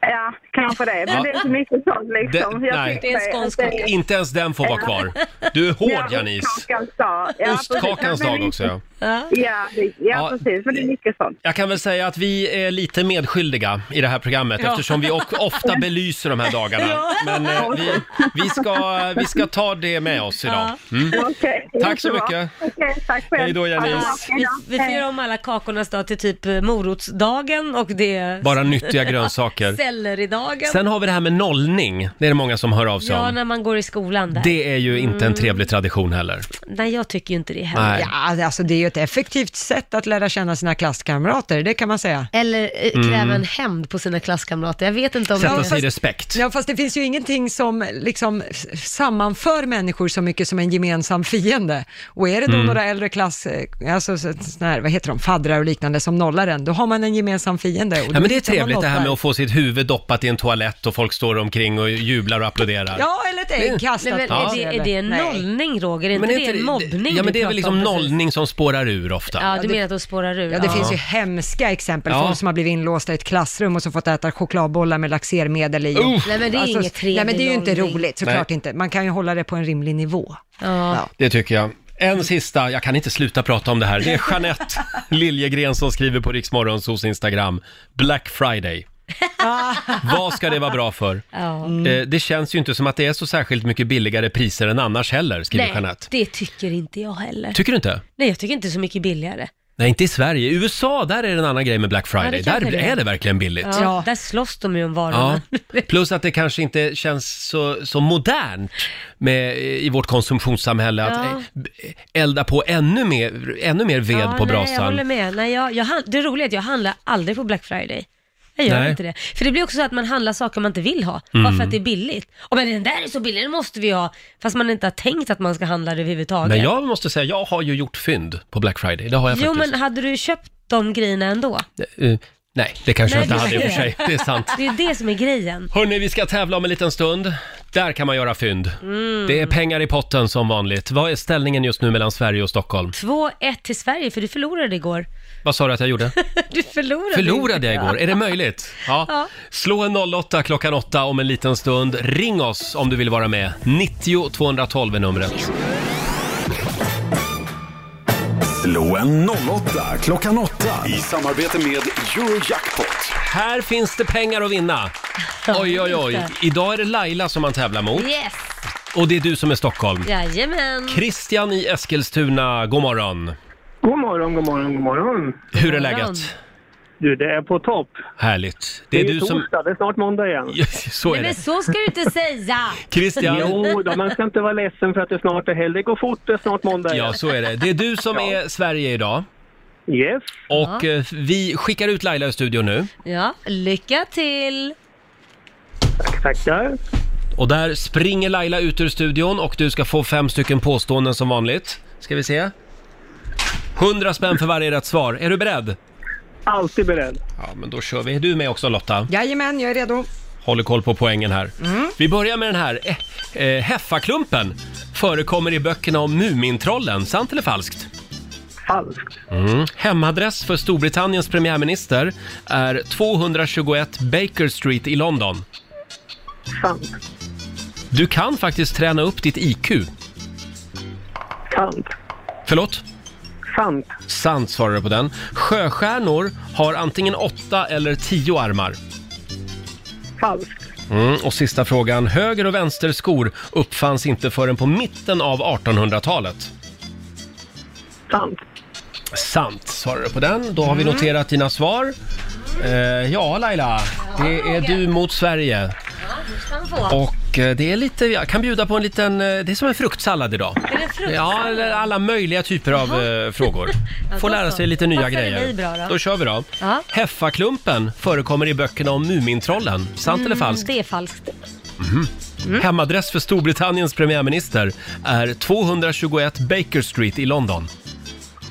O: Ja, kanske det. Men
A: Ja.
O: det är så mycket sånt liksom.
A: Det-
O: Jag
A: nej.
O: tycker
A: Det är en
B: skånsk
O: att det-
A: Inte ens den får vara kvar. Du är hård, Janice.
O: Ostkakans dag. Ja, precis.
A: Ostkakans
O: Nej, men
A: dag också, ja.
B: Ja,
O: ja, det- ja,
A: Ja.
O: precis. Men det är mycket sånt.
A: Jag kan väl säga att vi är lite medskyldiga i det här programmet
O: Ja.
A: eftersom vi o- ofta belyser de här dagarna.
O: Ja.
A: Men eh, vi, vi, ska, vi ska ta det med oss idag. Mm.
O: Okej,
A: Tack så
O: jättebra.
A: mycket.
O: Okej, tack själv.
A: Hej då, Janice.
B: Vi, vi får göra om alla kakornas dag till typ eh, morotsdagen och det är
A: Bara nyttiga
B: [laughs]
A: grönsaker.
B: selleridagen.
A: Sen har vi det här med nollning. Det är det många som hör av sig
B: Ja, Mm.
A: om.
B: när man går i skolan där.
A: Det är ju inte en trevlig tradition heller.
B: Nej, jag tycker ju inte det heller.
A: Nej.
C: Ja, alltså det är ju ett effektivt sätt att lära känna sina klasskamrater, det kan man säga.
B: Eller eh,
C: Mm.
B: kräva en hämnd på sina klasskamrater. Jag vet inte om
C: Ja,
B: det...
C: fast-
A: respekt.
C: Ja, fast det finns ju ingenting som liksom s- sammanför människor så mycket som en gemensam fiende. Och är det då
A: Mm.
C: några äldre klass, eh, alltså så- såna här, vad heter de, faddrar och liknande som nollar en, då har man en gemensam fiende. Och
A: Ja,
C: då
A: men det är
C: hittar man
A: trevligt
C: något
A: det här
C: där.
A: med att få sitt huvud doppat i en toalett och folk står omkring och jublar och applåderar.
C: Ja, eller ett ägg kastat.
B: Nej, men
A: Ja.
B: är, det, är det en
C: Nej.
B: nollning, Roger? Är inte
A: är
B: det en mobbning
A: Ja,
B: du
A: men det är
B: pratar
A: väl liksom
B: om precis?
A: nollning som spårar ur ofta.
B: Ja, du menar att de spårar ur?
C: Ja, det
A: Ja.
C: finns ju hemska exempel.
A: Ja.
C: Folk som har blivit inlåsta i ett klassrum och så fått äta chokladbollar med laxermedel i.
A: Uff.
B: Nej, men det är inget trevlig
C: Alltså, Nej, men det är ju inte
B: nollning.
C: roligt, såklart
A: Nej.
C: inte. Man kan ju hålla det på en rimlig nivå.
B: Ja.
A: Det tycker jag. En sista, jag kan inte sluta prata om det här. Det är
B: [laughs]
A: Jeanette Liljegren som skriver på Riksmorgonsos Instagram. Black
B: [laughs]
A: Friday. Vad ska det vara bra för?
B: Ja.
C: Mm.
A: Eh, Det känns ju inte som att det är så särskilt mycket billigare priser än annars heller, skriver
B: Nej,
A: Jeanette.
B: det tycker inte jag heller.
A: Tycker du inte?
B: Nej, jag tycker inte så mycket billigare.
A: Nej, inte i Sverige. I USA, där är det en annan grej med Black
B: Ja,
A: Friday.
B: det kanske
A: där
B: det är.
A: är det verkligen billigt.
B: Ja, Där slåss de ju om varorna. [laughs]
A: Ja. Plus att det kanske inte känns så, så modernt med, i vårt konsumtionssamhälle att
B: Ja.
A: eh, elda på ännu mer, ännu mer ved på
B: Nej, jag
A: brasan.
B: håller med. Nej, jag, jag, han- det roliga är att jag handlar aldrig på Black Friday. Jag gör
A: Nej.
B: inte det. För det blir också så att man handlar saker man inte vill ha, bara
A: Mm.
B: för att det är billigt. Och men den där är så billig, den måste vi ha. Fast man inte har tänkt att man ska handla det överhuvudtaget.
A: Men jag måste säga, jag har ju gjort fynd på Black Friday. Det har jag
B: jo,
A: faktiskt.
B: men hade du köpt de grejerna ändå?
A: Eh, nej, det kanske jag inte
B: Nej, det är
A: hade i och för
B: det.
A: sig. Det är sant.
B: Det är ju det som är grejen.
A: Hörni, vi ska tävla om en liten stund. Där kan man göra fynd.
B: Mm.
A: Det är pengar i potten som vanligt. Vad är ställningen just nu mellan Sverige och Stockholm?
B: 2-1 till Sverige, för du
A: [laughs]
B: förlorade igår.
A: Vad sa du att jag
B: [laughs]
A: gjorde?
B: Du förlorade.
A: Förlorade jag igår? Är det möjligt? Ja.
B: Ja.
A: Slå en 08 klockan 8 om en liten stund. Ring oss om du vill vara med. 90 212 är numret.
E: Slå en 08 klockan 8 i samarbete med Eurojackpot.
A: Här finns det pengar att vinna. Oj, oj, oj. Idag är det Laila som man tävlar mot.
B: Yes,
A: Och det är du som är Stockholm.
B: jajamän.
A: Christian i Eskilstuna, god morgon.
P: God morgon, god morgon, god morgon.
A: Hur är läget?
P: Du, det är på topp.
A: Härligt. Det är du som... [laughs]
P: torsdag, det är snart måndag igen.
A: Så är
B: Nej,
A: det.
B: men så ska du inte säga.
A: Christian.
P: Jo, då, man ska inte vara ledsen för att det snart är helg. Det går fort, det är snart måndag igen.
A: Ja, så är det. Det är du som är Sverige idag.
P: Yes.
A: Och
B: Ja.
A: eh, vi skickar ut Laila i studion nu.
B: Ja, lycka till.
P: Tackar.
A: Och där springer Laila ut ur studion och du ska få fem stycken påståenden som vanligt. Ska vi se? 100 spänn för varje rätt svar. Är du beredd?
P: Alltid beredd.
A: Ja, men då kör vi. Är du med också Lotta?
C: Jajamän, jag är redo.
A: Håller koll på poängen här.
C: Mm.
A: Vi börjar med den här. Eh, eh, heffaklumpen förekommer i böckerna om Mumintrollen. Sant eller falskt?
P: Falskt.
A: Mm. Hemadress för Storbritanniens premiärminister är 221 Baker Street i London.
P: Sant.
A: Du kan faktiskt träna upp ditt IQ.
P: Sant.
A: Förlåt?
P: Sant.
A: Sant svarar du på den. Sjöstjärnor har antingen åtta eller tio armar.
P: Falskt.
A: Mm, och sista frågan. Höger och vänster skor uppfanns inte förrän på mitten av 1800-talet.
P: Sant.
A: Sant svarar du på den. Då har
B: Mm.
A: vi noterat dina svar. Eh, ja, Laila. Det är du mot Sverige. Och eh, det är lite, jag kan bjuda på en liten, eh, det är som en fruktsallad idag.
B: Är det frukt?
A: Ja, eller alla möjliga typer av eh, frågor.
B: [laughs] Ja,
A: Får
B: då
A: lära
B: så.
A: sig lite nya
B: Passar det
A: grejer.
B: dig bra då?
A: kör vi då.
B: Ja.
A: Heffaklumpen förekommer i böckerna om Mumintrollen. Sant eller
B: Mm,
A: falskt?
B: Det är falskt.
A: Mhm.
C: Mm.
A: Hemadress för Storbritanniens premiärminister är 221 Baker Street i London.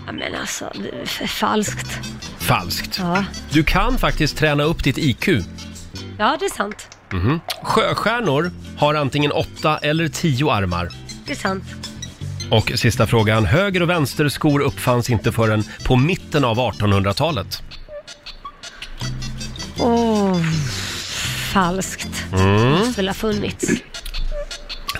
B: Ja, men alltså, det är f- falskt.
A: Falskt.
B: Ja.
A: Du kan faktiskt träna upp ditt IQ.
B: ja, det är sant.
A: Mhm. Sjöstjärnor har antingen åtta eller tio armar.
B: Det är sant.
A: Och sista frågan. Höger och vänster skor uppfanns inte förrän på mitten av 1800-talet.
B: Åh, falskt.
A: Mm.
B: Måste väl ha funnits.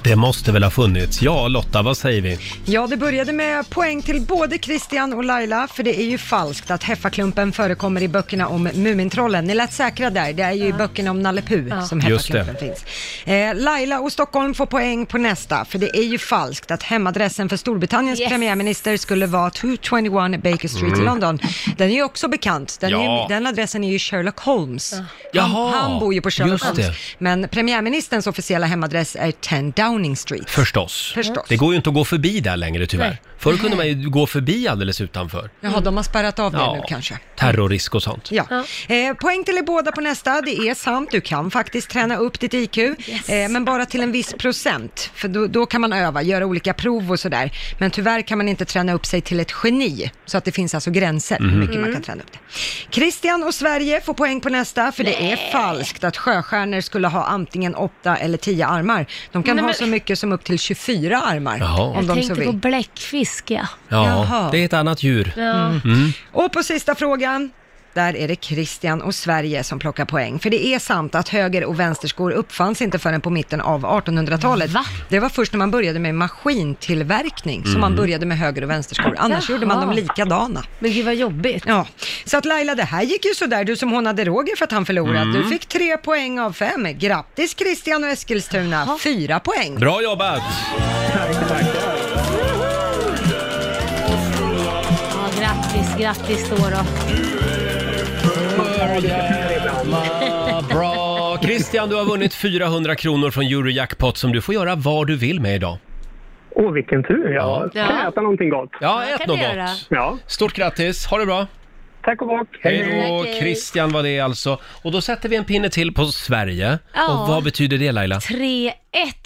A: Det måste väl ha funnits. Ja, Lotta, vad säger vi?
C: Ja, det började med poäng till både Christian och Laila, för det är ju falskt att heffaklumpen förekommer i böckerna om Mumintrollen. Ni lät säkra där, det är ju i böckerna om Nalle Puh som
A: Just det.
C: heffaklumpen finns. Eh, Laila och Stockholm får poäng på nästa, för det är ju falskt att hemadressen för Storbritanniens premiärminister skulle vara 221 Baker Street i
A: Mm.
C: London. Den är ju också bekant, den, är
A: Ja.
C: ju, den adressen är ju Sherlock Holmes. Han,
A: Jaha,
C: han bor ju på Sherlock
A: just
C: Holmes.
A: det.
C: Men premiärministerns officiella hemadress är 10 Downing Street.
A: Förstås.
C: Förstås.
A: Det går ju inte att gå förbi där längre tyvärr.
C: Nej.
A: Förr kunde man ju gå förbi alldeles utanför.
C: Jaha, de har spärrat av det nu kanske.
A: Terrorrisk och sånt.
C: Ja. Eh, poäng till er båda på nästa. Det är sant, du kan faktiskt träna upp ditt IQ, eh, men bara till en viss procent. För då, då kan man öva, göra olika prov och sådär. Men tyvärr kan man inte träna upp sig till ett geni, så att det finns alltså gränser hur
F: Mhm.
C: mycket man
F: Mm.
C: kan träna upp det. Christian och Sverige får poäng på nästa, för det är falskt att sjöstjärnor skulle ha antingen åtta eller tio armar. De kan
B: Nej,
C: ha
B: men-
C: så mycket som upp till 24 armar,
A: Jaha.
C: om
A: Jag
C: de så
B: Tänkte på
C: vill.
B: bläckfisk, ja.
A: Ja,
C: Jaha.
A: det är ett annat djur.
B: Ja.
A: Mm.
C: Och på sista frågan, där är det Christian och Sverige som plockar poäng. För det är sant att höger och vänsterskor uppfanns inte förrän på mitten av 1800-talet. Det var först när man började med maskintillverkning som man
B: Mm.
C: började med höger och vänsterskor. Annars
B: Jaha.
C: gjorde man dem likadana.
B: Men gud vad jobbigt.
C: Ja, så att Laila, det här gick ju sådär. Du som hånade Roger för att han förlorade.
A: Mm.
C: Du fick tre poäng av fem. Grattis Christian och Eskilstuna, fyra poäng.
A: Bra jobbat!
B: Ja, Grattis, grattis då. då.
A: Vad bra! Christian, du har vunnit 400 kronor från Eurojackpot som du får göra vad du vill med idag.
I: Åh, vilken tur! Ja.
A: Ja.
I: Kan jag äta någonting gott?
A: Ja, ät något gott. Stort grattis, ha det bra!
I: Tack och bock!
A: Hej
I: Hej.
A: då!
I: Tack, hej.
A: Christian var det alltså. Och då sätter vi en pinne till på Sverige.
B: Ja.
A: Och vad betyder det Laila?
B: 3-1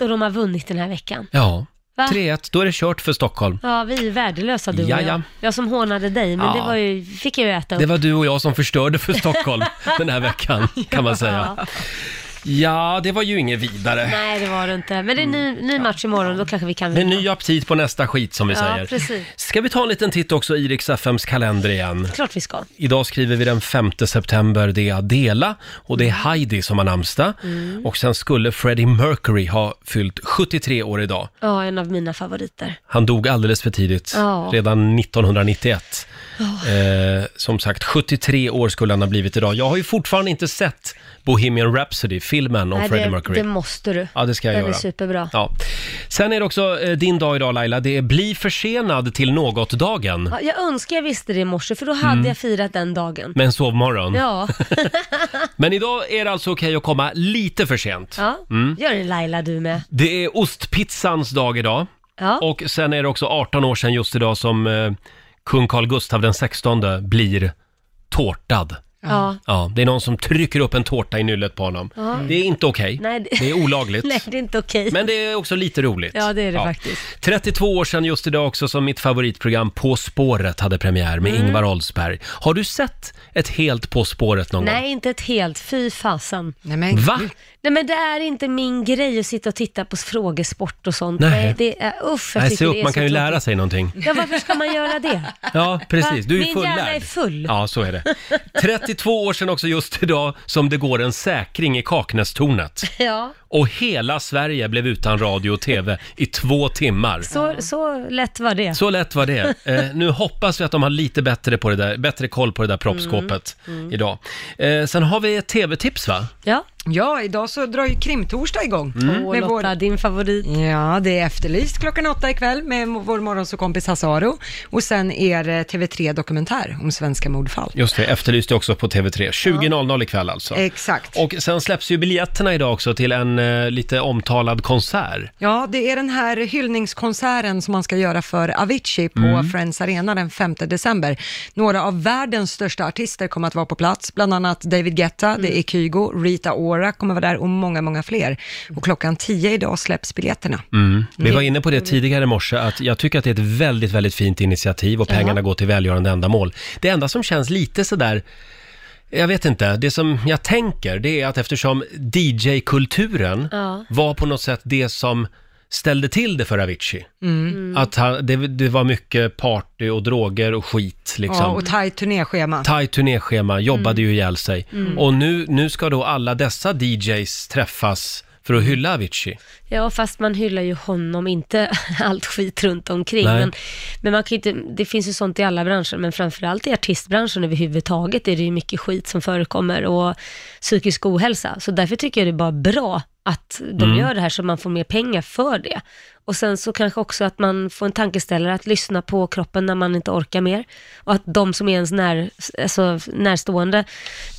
B: och de har vunnit den här veckan.
A: Ja,
B: Va?
A: 3-1, då är det kört för Stockholm.
B: Ja, vi är värdelösa du och
A: Jaja.
B: jag. Jag som hånade dig, men
A: Ja.
B: det var ju, fick jag ju äta upp.
A: Det var du och jag som förstörde för
B: [laughs]
A: Stockholm den här veckan, kan man säga. Ja, det var ju inget vidare.
B: Nej, det var det inte. Men det är en ny, ny match imorgon, då kanske vi kan
A: Det är Mm. ny aptit på nästa skit, som vi
B: Ja,
A: säger.
B: precis.
A: Ska vi ta en liten titt också i Rix FMs kalender igen?
B: Klart vi ska.
A: Idag skriver vi den 5 september, det är Adela och det är Heidi som har namnsdag.
B: Mm.
A: Och sen skulle Freddie Mercury ha fyllt 73 år idag.
B: Ja, en av mina favoriter.
A: Han dog alldeles för tidigt,
B: Ja.
A: redan 1991.
B: Ja.
A: Eh, som sagt, 73 år skulle han ha blivit idag. Jag har ju fortfarande inte sett Bohemian Rhapsody, filmen om
B: Nej,
A: Freddie
B: det,
A: Mercury.
B: det måste du.
A: Ja, det ska jag
B: Den
A: göra.
B: är superbra.
A: Ja. Sen är det också eh, din dag idag Laila, det är bli försenad till något-dagen.
B: Ja, jag önskar jag visste det i morse, för då hade
A: Mm.
B: jag firat den dagen.
A: Med en sovmorgon.
B: Ja,
A: Men idag är det alltså okej att komma lite för sent.
B: ja.
A: Mm.
B: gör det Laila du med.
A: Det är ostpizzans dag idag.
B: Ja.
A: Och sen är det också 18 år sedan just idag som eh, kung Carl Gustav den 16 blir tårtad.
B: Ja.
A: Ja, det är någon som trycker upp en tårta i nyllet på honom.
B: Ja.
A: Det är inte okej.
B: Nej,
A: det... är olagligt.
B: [laughs] Nej, det är inte okej.
A: Men det är också lite roligt.
B: Ja, det är det faktiskt.
A: 32 år sedan just idag också som mitt favoritprogram På spåret hade premiär med
B: Mm.
A: Ingvar Oldsberg. Har du sett ett helt På spåret någon
B: Nej, inte ett helt. Fy fasen. Nej
A: gång? Va?
B: Nej men det är inte min grej att sitta och titta på frågesport och sånt.
A: Nej.
B: det är, usch, jag
A: Nej, se
B: tycker det
A: upp,
B: är
A: man
B: så
A: kan ju
B: tråkigt.
A: lära sig någonting.
B: Ja, varför ska man
A: [laughs]
B: göra det?
A: Ja, precis.
B: [laughs] Va?
A: Du är
B: Min
A: fullärd.
B: hjärna är full.
A: Ja, så är det. 32 år sedan också just idag som det går en säkring i Kaknästornet.
B: Ja,
A: Och hela Sverige blev utan radio och TV i två timmar.
B: så, så lätt var det.
A: Så lätt var det. Eh, nu hoppas vi att de har lite bättre, på det där, bättre koll på det där proppskåpet
C: Mm, mm.
A: idag. Eh, sen har vi ett TV-tips va?
B: Ja.
C: ja, idag så drar ju Krimtorsdag igång.
A: Mm. Åh,
B: Lotta, din favorit.
C: Ja, det är Efterlyst klockan åtta ikväll med mo- vår morgonsåkompis Hasse Aro. Och sen är det TV3 Dokumentär om svenska mordfall.
A: Just det, Efterlyst är också på TV3. 20.00 ikväll alltså.
C: Exakt.
A: Och sen släpps ju biljetterna idag också till en eh, lite omtalad konsert.
C: Ja, det är den här hyllningskonserten som man ska göra för Avicii på
A: Mm.
C: Friends Arena den 5 december. Några av världens största artister kommer att vara på plats, bland annat David Guetta,
A: Mm.
C: det är Kygo, Rita Ora kommer vara där och många, många fler. Och klockan 10 idag släpps biljetterna.
A: Mm. Vi var inne på det tidigare i morse, att jag tycker att det är ett väldigt, väldigt fint initiativ och
C: Ja.
A: pengarna går till välgörande ändamål. Det enda som känns lite sådär, jag vet inte, det som jag tänker det är att eftersom DJ-kulturen
B: Ja.
A: var på något sätt det som ställde till det för Avicii.
C: Mm.
A: Att han, det, det var mycket party och droger och skit liksom.
C: Ja, och tajt turnéschema.
A: Tajt turnéschema, jobbade ju ihjäl sig.
C: Mm.
A: Och nu, nu ska då alla dessa DJs träffas för att hylla Avicii.
B: Ja, fast man hyllar ju honom, inte [laughs] allt skit runt omkring.
A: Nej.
B: Men, men man kan ju inte, det finns ju sånt i alla branscher, men framförallt i artistbranschen överhuvudtaget är det ju mycket skit som förekommer och psykisk ohälsa. Så därför tycker jag det är bara bra att de
A: Mm.
B: gör det här så man får mer pengar för det. Och sen så kanske också att man får en tankeställare att lyssna på kroppen när man inte orkar mer. Och att de som är ens när, alltså närstående,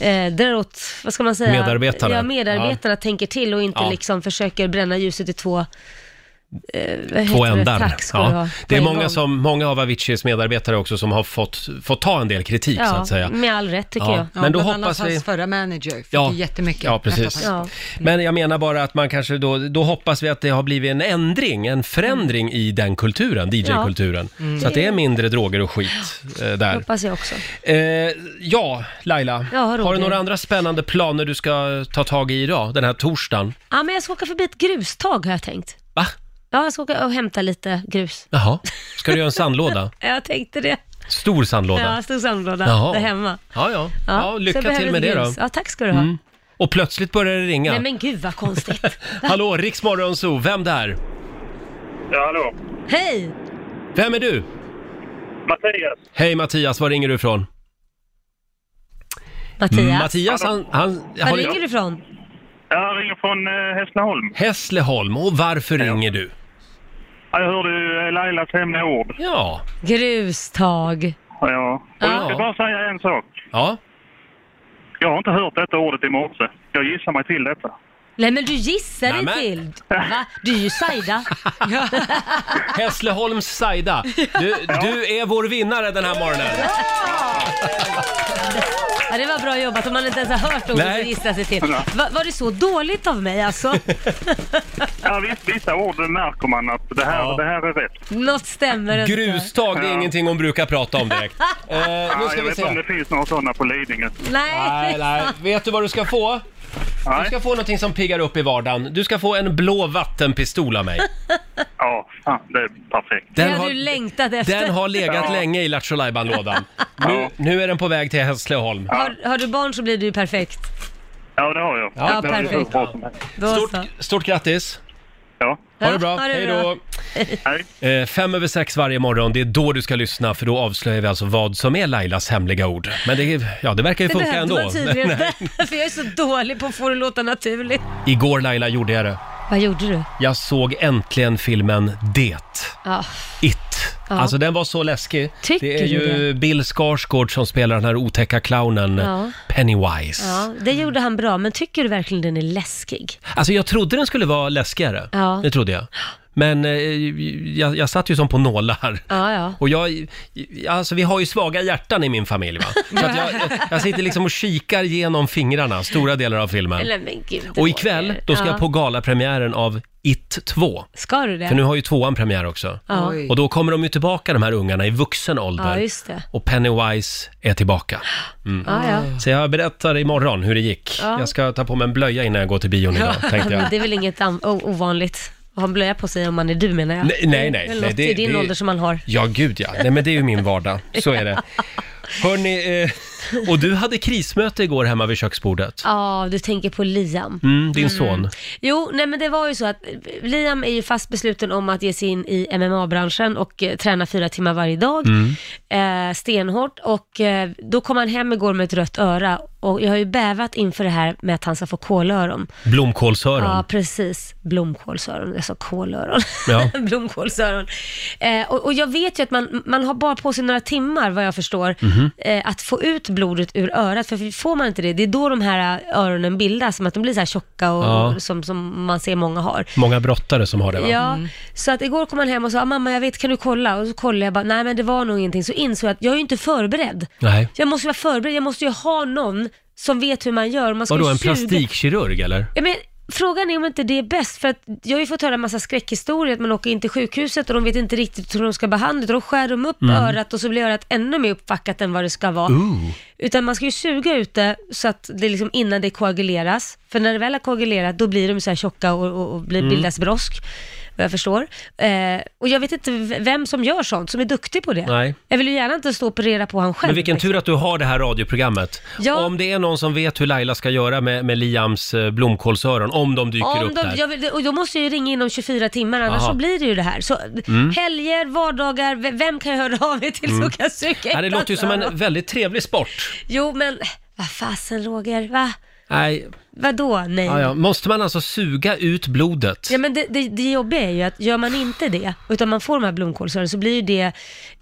B: eh, däråt, vad ska man säga?
A: Medarbetare.
B: Ja, medarbetarna tänker till och inte
A: Ja.
B: liksom försöker bränna ljuset i två eh, vad
A: Två
B: heter Det,
A: ändar.
B: Tack ska du
A: Ja.
B: ha.
A: Det är
B: På en
A: många,
B: gång.
A: som, många av Aviciis medarbetare också som har fått, fått ta en del kritik så att säga.
B: Med all rätt tycker
A: Ja,
B: jag.
A: men då
C: bland
A: hoppas
C: annat
A: vi-
C: hans förra manager fick
A: Ja.
C: ju jättemycket.
A: Ja, precis.
C: efter att han-
A: Men jag menar bara att man kanske då, då hoppas vi att det har blivit en ändring, en förändring i den kulturen, DJ-kulturen.
B: Ja. Mm.
A: Så att det är mindre droger och skit eh,
B: Det
A: där.
B: hoppas jag också.
A: Eh, ja, Laila.
B: Ja, Roger.
A: har du några andra spännande planer du ska ta tag i idag, den här torsdagen?
B: Ja, men jag ska åka förbi ett grustag har jag tänkt.
A: Va?
B: Ja, jag ska åka och hämta lite grus.
A: Jaha, ska du göra en sandlåda?
B: Ja, Jag tänkte det.
A: Stor sandlåda?
B: Ja, stor sandlåda
A: Jaha.
B: där hemma.
A: Ja, ja.
B: Ja,
A: ja
B: så
A: lycka
B: jag behöver
A: till med det
B: lite
A: då.
B: ljus. Ja, tack ska du ha.
A: Mm. Och plötsligt börjar det ringa.
B: Nej men gud
A: [laughs]
B: vad konstigt.
A: Hallå, Riks Morgonzoo, vem där?
J: Ja, hallå.
B: Hej!
A: Vem är du?
J: Mattias.
A: Hej Mattias, var ringer du ifrån?
B: Mattias.
A: Mattias, han... han jag
B: Var
A: har-
B: ringer du ifrån?
J: Jag ringer från eh, Hässleholm.
A: Hässleholm, och varför ringer du?
J: Ja, Jag hörde ju eh, Lailas hemliga ord.
A: Ja.
B: Grustag.
J: Ja. Och jag ska bara säga en sak.
A: Ja.
J: Jag har inte hört detta ordet i morse. Jag gissar mig till detta.
B: Nej men du gissar dig
A: Nämen.
B: till. Va? Du är ju Saida.
A: [laughs] Hässleholms Saida, du,
B: [laughs]
A: du är vår vinnare den här morgonen.
B: Ja, det var bra jobbat om man inte ens har hört ordet
A: Nej.
B: att gissa sig till. Va, var det så dåligt av mig alltså?
J: Ja, visst, vissa ord märker man att det här, det här är rätt.
B: Något stämmer
A: Eh,
B: inte.
A: Grustag, det är
J: Ja.
A: ingenting hon brukar prata om [laughs] direkt. Eh, nu
J: Ja,
A: ska
J: jag
A: vi
J: vet
A: se.
J: inte om det finns några sådana på Lidingö.
A: Nej, nej. Vet du vad du ska få? Du ska få någonting som piggar upp i vardagen. Du ska få en blå vattenpistol [laughs] av mig.
J: Ja, fan, det är perfekt.
B: Den
A: Den
B: det har du
A: har,
B: längtat efter.
A: den har legat länge i Lattjo lådan nu, nu är den på väg till Hässleholm.
B: Har, har du barn så blir det ju perfekt.
J: Ja, det har jag.
A: Ja,
J: Det har jag
B: perfekt.
J: hört om.
B: Då så.
A: Stort grattis!
J: Ja.
A: Ha det bra,
B: Ja, ha det
A: hej
B: bra.
A: då! Eh, fem över sex varje morgon, det är då du ska lyssna för då avslöjar vi alltså vad som är Lailas hemliga ord. Men det, ja, det verkar ju
B: Det
A: funka
B: behövde
A: ändå.
B: man tydligen
A: Nej.
B: inte, [laughs] för jag är så dålig på att få det att låta naturligt.
A: Igår Laila gjorde jag det.
B: Vad gjorde du?
A: Jag såg äntligen filmen Det.
B: Ja.
A: It.
B: Ja.
A: Alltså den var så läskig.
B: Tycker
A: det är
B: du
A: ju Bill Skarsgård som spelar den här otäcka clownen
B: Ja.
A: Pennywise.
B: ja, det gjorde han bra, men tycker du verkligen den är läskig?
A: Alltså jag trodde den skulle vara läskigare.
B: Ja.
A: Det trodde jag. Men eh, jag, jag satt ju som på nålar.
B: Ja, ja.
A: Och jag, alltså vi har ju svaga hjärtan i min familj va. Så att jag, jag sitter liksom och kikar genom fingrarna stora delar av filmen.
B: Eller men gud.
A: Och ikväll, då ska
B: Ja.
A: jag på galapremiären av It 2.
B: Ska du det?
A: För nu har ju tvåan premiär också.
B: Ja. Oj.
A: Och då kommer de ju tillbaka de här ungarna i vuxen
B: Ja,
A: ålder.
B: just det.
A: och Pennywise är tillbaka. Mm.
B: Ja, ja.
A: Så jag berättar imorgon hur det gick.
B: Ja.
A: Jag ska ta på mig en blöja innan jag går till bion idag, tänkte jag.
B: men det är väl inget an- o- ovanligt att ha en blöja på sig om man är du menar jag.
A: Nej, nej, nej,
B: Det är väl
A: nej,
B: något
A: det-
B: i din
A: det-
B: ålder som man har.
A: Ja, gud ja. Nej, men det är ju min vardag. Så är det. Hörni, eh, och du hade krismöte igår hemma vid köksbordet.
B: Ja, du tänker på Liam.
A: Mm, din son.
B: Jo, nej men det var ju så att eh, Liam är ju fast besluten om att ge sig in i MMA-branschen och eh, träna fyra timmar varje dag,
Q: Mm.
B: eh, stenhårt. Och eh, då kom han hem igår med ett rött öra och jag har ju bävat inför det här med att han ska få kolöron. Ja,
A: Blomkålsöron.
B: precis. Blomkålsöron. Jag sa kolöron.
A: Ja.
B: [laughs] Blomkålsöron. Eh, och, och jag vet ju att man, man har bara på sig några timmar, vad jag förstår,
Q: Mhm.
B: eh, att få ut blodet ur örat. För får man inte det, det är då de här öronen bildas, som att de blir så här tjocka och,
A: Ja.
B: som, som man ser många har.
A: Många brottare som har det, va?
B: Ja, så att igår kom han hem och sa, "Ah, mamma jag vet, kan du kolla? Och så kollade jag bara, nej men det var nog ingenting. Så insåg jag att jag är ju inte förberedd.
A: Nej.
B: Jag måste vara förberedd, jag måste ju ha någon som vet hur man gör. Man ska
A: Vadå,
B: ju
A: en
B: suga-
A: plastikkirurg eller?
B: Ja, men frågan är om inte det är bäst, för att jag har ju fått höra en massa skräckhistorier, att man åker in till sjukhuset och de vet inte riktigt hur de ska behandla utan de skär dem upp
Q: Mm.
B: örat och så blir örat ännu mer uppfackat än vad det ska vara.
Q: Ooh.
B: Utan man ska ju suga ut det så att det liksom innan det koaguleras, för när det väl har koagulerat då blir de så här tjocka och, och, och blir,
Q: Mm.
B: bildas brosk, vad jag förstår. Eh, och jag vet inte v- vem som gör sånt, som är duktig på det.
A: Nej.
B: Jag vill ju gärna inte stå och operera på han själv.
A: Men vilken
B: liksom.
A: tur att du har det här radioprogrammet.
B: Ja.
A: Om det är någon som vet hur Laila ska göra med, med Liams eh, blomkålsöron, om de dyker
B: Om
A: upp
B: de,
A: där.
B: jag vill, och då måste jag ju ringa inom 24 timmar, annars
A: Jaha.
B: så blir det ju det här. Så,
A: Mm.
B: Helger, vardagar, v- vem kan jag höra av mig till
A: Mm.
B: som kan söka
A: Nej, det
B: ett
A: låter ju som
B: annat?
A: en väldigt trevlig sport.
B: Jo, men vad fasen Roger, va?
A: Nej,
B: Vadå, nej?
A: ja, ja. Måste man alltså suga ut blodet?
B: Ja, men det, det, det jobbiga är ju att gör man inte det, utan man får de här blomkålsöronen, så blir ju det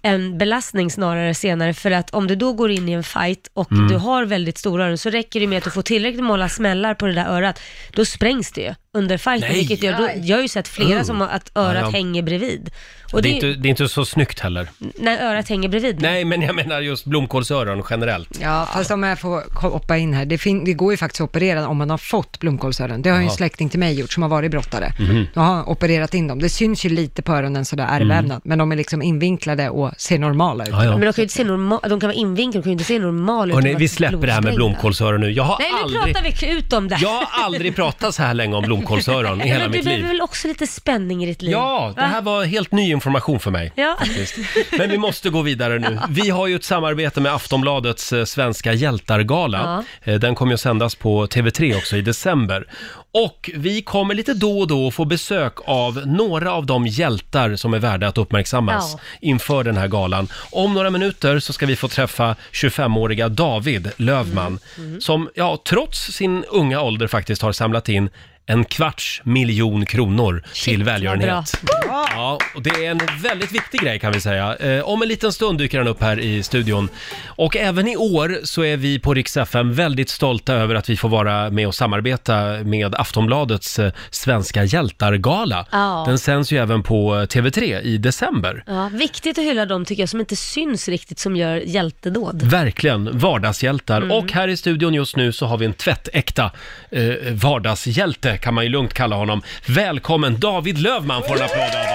B: en belastning snarare senare, för att om du då går in i en fight och
Q: Mm.
B: du har väldigt stora öron, så räcker det med att du får tillräckligt många smällar på det där örat, då sprängs det ju under fighten,
A: Nej.
B: vilket gör, då, jag har ju sett flera
A: Oh.
B: som har att örat
A: Ja, ja.
B: hänger bredvid.
A: det, är
B: ju-
A: inte, det är inte så snyggt heller.
B: När örat hänger bredvid.
A: Nej, men jag menar just blomkålsöron generellt.
C: Ja, fast om jag får hoppa in här, det, fin- det går ju faktiskt att operera om man har fått blomkålsöron. Det har ju en
A: Jaha.
C: släkting till mig gjort som har varit brottare.
A: Mhm.
C: Då har han opererat in dem. Det syns ju lite på öronen sådär ärrvävnad, men de är liksom invinklade och ser normala ut.
B: Men de kan ju inte se normal, de kan vara invinklade, de kan ju inte se normala
A: Hörrni, vi släpper det här med blomkålsöron nu. Jag har,
B: Nej, nu
A: aldrig,
B: pratar vi ut om det.
A: jag har aldrig pratat så här länge om blomkålsöron i hela
B: Men du
A: mitt
B: behöver
A: liv.
B: väl också lite spänning i ditt liv?
A: Ja, det här
B: Va?
A: var helt ny information för mig.
B: Ja.
A: faktiskt. Men vi måste gå vidare nu. Vi har ju ett samarbete med Aftonbladets eh, Svenska hjältargala. Eh, Den kommer ju att sändas på TV3 också i december. Och vi kommer lite då och då få besök av några av de hjältar som är värda att uppmärksammas
B: Ja.
A: inför den här galan. Om några minuter så ska vi få träffa 25-åriga David Lövman som, ja, trots sin unga ålder faktiskt har samlat in en kvarts miljon kronor till
F: bra.
A: välgörenhet. Ja, och det är en väldigt viktig grej kan vi säga. Eh, om en liten stund dyker han upp här i studion. Och även i år så är vi på Rix FM väldigt stolta över att vi får vara med och samarbeta med Aftonbladets eh, Svenska hjältar-gala.
M: Ja.
A: Den sänds ju även på eh, TV3 i december.
M: Ja, viktigt att hylla dem tycker jag som inte syns riktigt som gör hjältedåd.
A: Verkligen, vardagshjältar.
M: Mm.
A: Och här i studion just nu så har vi en tvättäkta eh, vardagshjälte, kan man ju lugnt kalla honom. Välkommen David Lövman får en applåd av oss.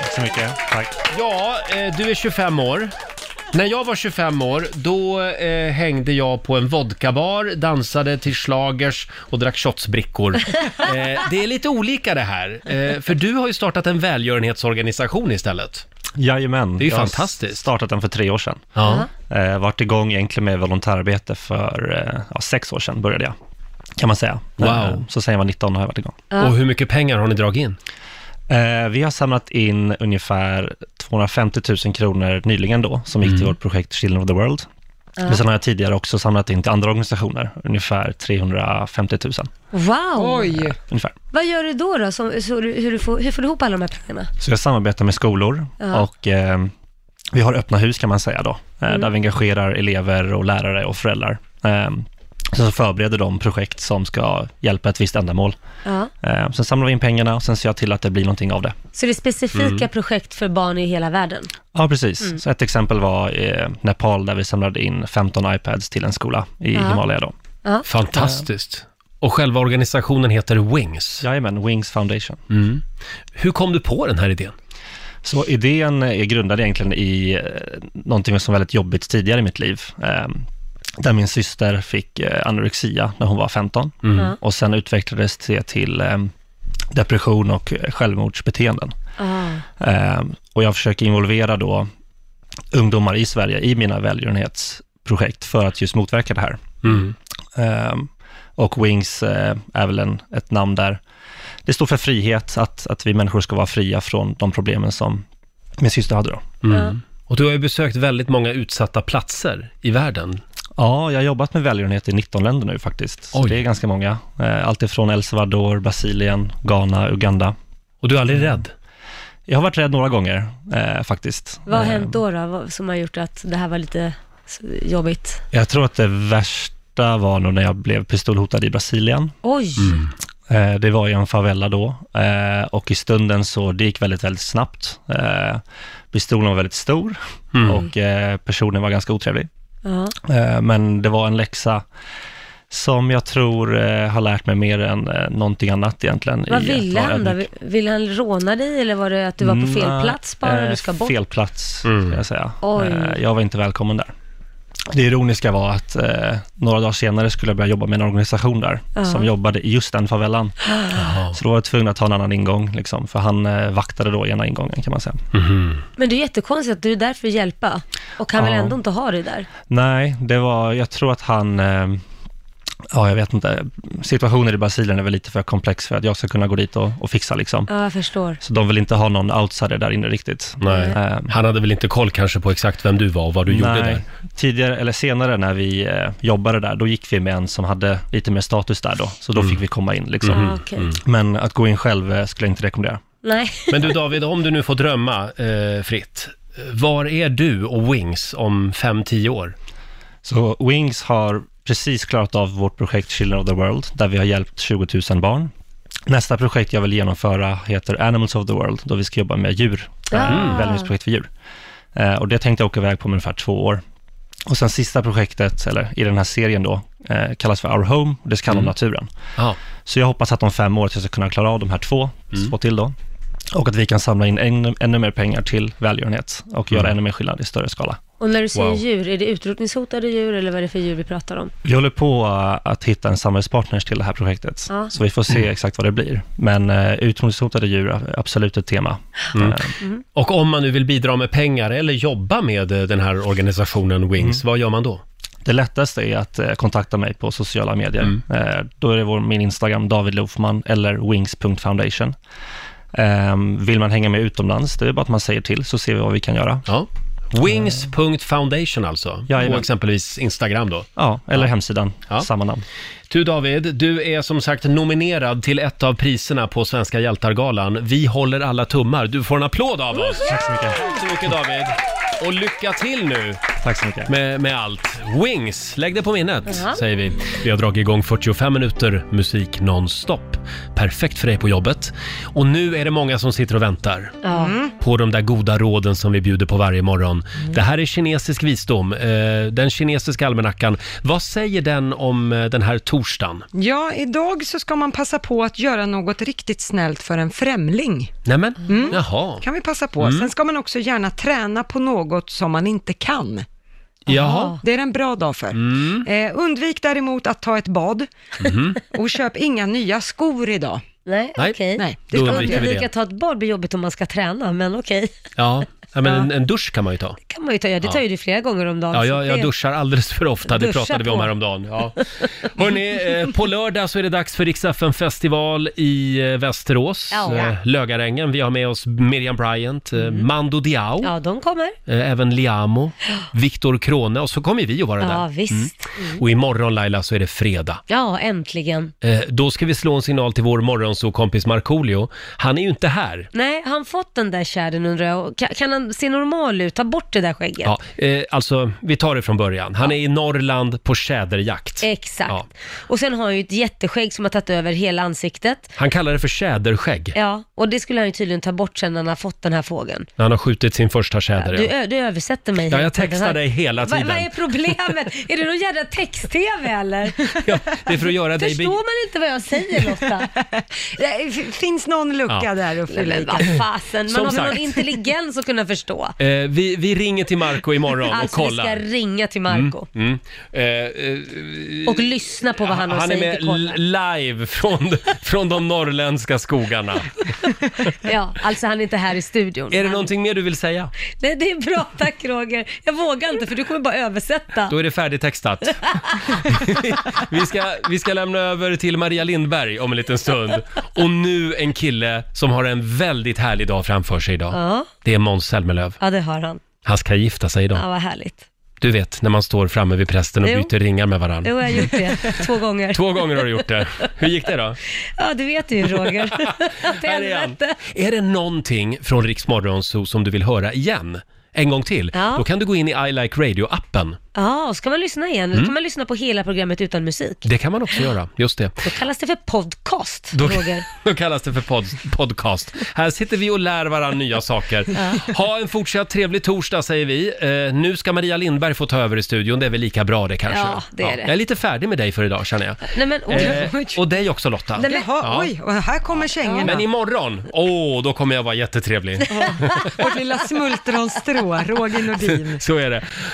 A: Tack så mycket, tack. Ja, eh, du är 25 år. När jag var 25 år, då eh, hängde jag på en vodkabar, dansade till slagers och drack shotsbrickor. Eh, det är lite olika det här, eh, för du har ju startat en välgörenhetsorganisation istället.
J: Jajamän.
A: Det är ju
J: jag har
A: fantastiskt.
J: startat den för tre år sedan.
A: Ja.
J: Eh, varit igång egentligen med volontärarbete för eh, ja, sex år sedan började jag, kan man säga.
A: Wow.
J: så sen jag var 19 har jag varit igång.
A: Ja. Och hur mycket pengar har ni dragit in?
J: Eh, vi har samlat in ungefär 250 000 kronor nyligen då, som gick till
A: Mm.
J: vårt projekt Children of the World.
M: Ja.
J: Men sen har jag tidigare också samlat in till andra organisationer, ungefär 350 000.
M: Wow!
J: Eh, ungefär.
M: Vad gör du då, då som, så du, hur, du får, hur får du ihop alla de här pengarna?
J: Så jag samarbetar med skolor
M: Ja.
J: och eh, vi har öppna hus kan man säga då, eh,
M: Mm.
J: där vi engagerar elever och lärare och föräldrar. Eh, så förbereder de projekt som ska hjälpa ett visst ändamål.
M: Ja.
J: Eh, sen samlar vi in pengarna och sen ser jag till att det blir någonting av det.
M: Så det är specifika
J: Mm.
M: projekt för barn i hela världen?
J: Ja, precis.
M: Mm.
J: Så ett exempel var eh, Nepal där vi samlade in 15 iPads till en skola i
M: Ja.
J: Himalaya då.
M: Ja.
A: Fantastiskt. Och själva organisationen heter Wings.
J: Jajamän, Wings Foundation.
A: Mm. Hur kom du på den här idén?
J: Så idén eh, är grundad egentligen i eh, någonting som var väldigt jobbigt tidigare i mitt liv. Eh, där min syster fick eh, anorexia när hon var 15
F: Mm. Ja.
J: och sen utvecklades det till eh, depression och eh, självmordsbeteenden.
F: Ah.
J: Eh, och jag försöker involvera då ungdomar i Sverige i mina välgörenhetsprojekt för att just motverka det här.
F: Mm.
J: Eh, och Wings eh, är väl en, ett namn där. Det står för frihet, att, att vi människor ska vara fria från de problemen som min syster hade då.
A: Mm. Och du har ju besökt väldigt många utsatta platser i världen.
J: Ja, jag har jobbat med välgörenhet i 19 länder nu faktiskt. Så det är ganska många. Eh, Allt ifrån El Salvador, Brasilien, Ghana, Uganda.
A: Och du är aldrig rädd?
J: Jag har varit rädd några gånger eh, faktiskt.
M: Vad har hänt då, då vad- som har gjort att det här var lite s- jobbigt?
J: Jag tror att det värsta var nog när jag blev pistolhotad i Brasilien.
M: Oj!
J: Eh, Det var i en favela då eh, och i stunden så det gick väldigt, väldigt snabbt. Eh, Pistolen var väldigt stor
F: Mm.
J: och eh, personen var ganska otrevlig.
F: Ja.
J: Eh, Men det var en läxa som jag tror eh, har lärt mig mer än eh, någonting annat egentligen.
M: Vad
J: i att
M: ville
J: vara
M: han då?
J: ödmjuk. Mm,
M: Ville han råna dig eller var det att du var på fel
J: Nej,
M: plats bara och
J: eh,
M: du ska bort?
J: Fel plats, ska jag säga.
M: Oj.
J: Eh, Jag var inte välkommen där. Det ironiska var att eh, några dagar senare skulle jag börja jobba med en organisation där,
F: Ja.
J: som jobbade i just den favellan. Så då var jag tvungen att ta en annan ingång, liksom, för han eh, vaktade då ena ingången kan man säga.
M: Men det är jättekonstigt att du är där för att hjälpa och han vill
J: Ja.
M: ändå inte ha dig där.
J: Nej, det var, jag tror att han, eh, ja jag vet inte, situationen i Brasilien är väl lite för komplex för att jag ska kunna gå dit och, och fixa liksom.
M: Ja, jag förstår.
J: Så de vill inte ha någon outsider där inne riktigt.
A: Nej.
J: Han
A: hade väl inte koll kanske på exakt vem du var och vad du gjorde där.
J: Tidigare, eller senare när vi eh, jobbade där, då gick vi med en som hade lite mer status där då, så då
A: Mm.
J: fick vi komma in liksom.
A: Mhm. Ah, okej. Mm.
J: Men att gå in själv eh, skulle jag inte rekommendera.
M: Nej.
A: Men du David, om du nu får drömma eh, fritt, eh, var är du och Wings om 5-10 år?
J: Så Wings har precis klarat av vårt projekt Children of the World, där vi har hjälpt 20 000 barn. Nästa projekt jag vill genomföra heter Animals of the World, då vi ska jobba med djur,
F: Ah.
J: mm. välgörenhetsprojekt för djur. Eh, och det tänkte jag åka iväg på om ungefär två år. Och sen sista projektet, eller i den här serien då, eh, kallas för Our Home, och det ska handla om
A: Mm.
J: naturen. Så jag hoppas att om fem år att jag ska kunna klara av de här två, två till då. Och att vi kan samla in ännu, ännu mer pengar till välgörenhet och göra ännu mer skillnad i större skala.
M: Och när du säger
J: Wow.
M: djur, är det utrotningshotade djur eller vad är det för djur vi pratar om?
J: Vi håller på eh, att hitta en samhällspartner till det här projektet,
M: Ja.
J: så vi får se
M: Mm.
J: exakt vad det blir. Men uh, utrotningshotade djur är absolut ett tema.
A: Mm.
J: Eh,
A: Och om man nu vill bidra med pengar eller jobba med eh, den här organisationen Wings,
J: Mm.
A: vad gör man då?
J: det lättaste är att eh, kontakta mig på sociala medier. Eh, då är det vår, min Instagram, David Lofman eller wings.foundation. Ehm, Eh, vill man hänga med utomlands, det är bara att man säger till, så ser vi vad vi kan göra.
A: Ja. Wings.foundation alltså, på
J: Jajamän.
A: exempelvis Instagram då.
J: Ja, eller hemsidan, samma namn.
A: Du David, du är som sagt nominerad till ett av priserna på Svenska hjältargalan. Vi håller alla tummar. Du får en applåd av oss! Tack så mycket. Tack så mycket David. Och lycka till nu!
J: Tack så mycket.
A: Med, med allt. Wings, lägg det på minnet,
J: Ja.
A: säger vi. Vi har dragit igång 45 minuter musik nonstop. Perfekt för dig på jobbet. Och nu är det många som sitter och väntar
B: Ja.
A: på de där goda råden som vi bjuder på varje morgon. Det här är kinesisk visdom, eh, den kinesiska almanackan. Vad säger den om eh, den här torsdagen?
C: Ja, idag så ska man passa på att göra något riktigt snällt för en främling.
A: Nämen, jaha.
C: kan vi passa på.
A: Mm.
C: Sen ska man också gärna träna på något som man inte kan.
A: Jaha.
C: Det är en bra dag för.
A: Mm.
C: Eh, undvik däremot att ta ett bad
A: Mhm.
C: och köp inga nya skor idag.
B: Nej,
A: Nej.
B: okej.
C: Nej,
A: det Då ska man undviker inte vi göra. det.
B: Undvika att ta ett bad blir jobbigt om man ska träna, men okej. [laughs]
A: Ja, ja men en, en dusch kan man ju ta.
B: kan man ju ta, ja, det tar ju
A: Ja.
B: du flera gånger om dagen.
A: Ja,
B: så
A: jag,
B: Alltså, det-
A: jag duschar alldeles för ofta, det
B: Duscha
A: pratade vi om
B: på.
A: häromdagen. Ja. Hörrni, eh, på lördag så är det dags för Rix FM festival i eh, Västerås,
B: Ja. Mm.
A: eh, Lögarängen. Vi har med oss Miriam Bryant, eh, Mando Diao,
B: Ja, de kommer.
A: eh, även
B: [gasps]
A: Liamo, Viktor Krone och så kommer vi att vara där.
B: Ja, visst. Mm.
A: Och imorgon Laila så är det fredag.
B: Ja, äntligen.
A: Eh, Då ska vi slå en signal till vår morgonsåkompis Markoolio. Han är ju inte här.
B: Nej, har han fått den där kärden undrar jag? Och Kan, kan han se normal ut? Ta bort det där skägget.
A: Ja, eh, alltså, vi tar det från början. Han är i Norrland på tjäderjakt.
B: Exakt.
A: Ja.
B: Och sen har han ju ett jätteskägg som har tagit över hela ansiktet.
A: Han kallar det för tjäderskägg.
B: Ja, och det skulle han ju tydligen ta bort sen när han har fått den här fågeln.
A: När han har skjutit sin första tjäder.
B: Du,
A: ja.
B: ö- du översätter mig.
A: Ja,
B: hela
A: jag
B: tiden.
A: textar dig hela
B: Va-
A: tiden.
B: Vad är problemet? är det någon jävla
A: [laughs]
B: text-tv eller?
A: Det är för att göra dig...
B: Förstår
A: Be-
B: man inte vad jag
A: [laughs]
B: säger Lotta?
C: Det f- finns någon lucka
A: Ja.
C: där att fylla
B: Men
C: i.
B: vad fasen, man
A: Som
B: har väl någon
A: sagt.
B: intelligens att kunna förstå.
A: eh, vi, vi ringer till Marco imorgon och
B: Alltså vi
A: kollar.
B: ska ringa till Marco
A: Mm, mm. Eh, eh,
B: och lyssna på vad han, har
A: han är
B: säger
A: med
B: till Kolla.
A: l- live från, från de norrländska skogarna.
B: Ja, alltså han är inte här i studion.
A: Är det någonting mer du vill säga?
B: Nej, det är bra, tack Roger. Jag vågar inte för du kommer bara översätta.
A: Då är det färdigtextat. [laughs] vi, ska, vi ska lämna över till Maria Lindberg om en liten stund. Och nu en kille som har en väldigt härlig dag framför sig idag.
B: Ja.
A: Det är Måns Zelmerlöw.
B: Ja, det har han.
A: Han ska gifta sig idag.
B: Ja, vad härligt.
A: Du vet, när man står framme vid prästen och
B: Jo.
A: byter ringar med varandra.
B: Jo, jag har gjort det två gånger.
A: Två gånger har du gjort det. Hur gick det då?
B: Ja, du vet
A: [laughs]
B: ju Roger. Att
A: Här är han.
B: helvete.
A: Är det någonting från Rix Morgonzoo som du vill höra igen? En gång till?
B: Ja.
A: Då kan du gå in i I Like Radio-appen.
B: Ja, ska man lyssna igen? Då
A: Mm.
B: kan man lyssna på hela programmet utan musik.
A: Det kan man också göra, just det.
B: Då kallas det för podcast,
A: Då,
B: Roger.
A: [laughs] då kallas det för pod, podcast. Här sitter vi och lär varandra nya saker.
B: Ja.
A: Ha en fortsatt trevlig torsdag säger vi. Eh, nu ska Maria Lindberg få ta över i studion, det är väl lika bra det kanske?
B: Ja, det är det.
A: Jag är lite färdig med dig för idag känner jag.
B: Nej, men oj.
A: Eh, och dig också Lotta.
C: Nej, men,
A: Ja.
C: Jaha, oj, och här kommer kängorna.
A: Men imorgon, åh, då kommer jag vara jättetrevlig. [laughs]
C: Vårt lilla smultronstrå, Roger Nordin.
A: Så är det.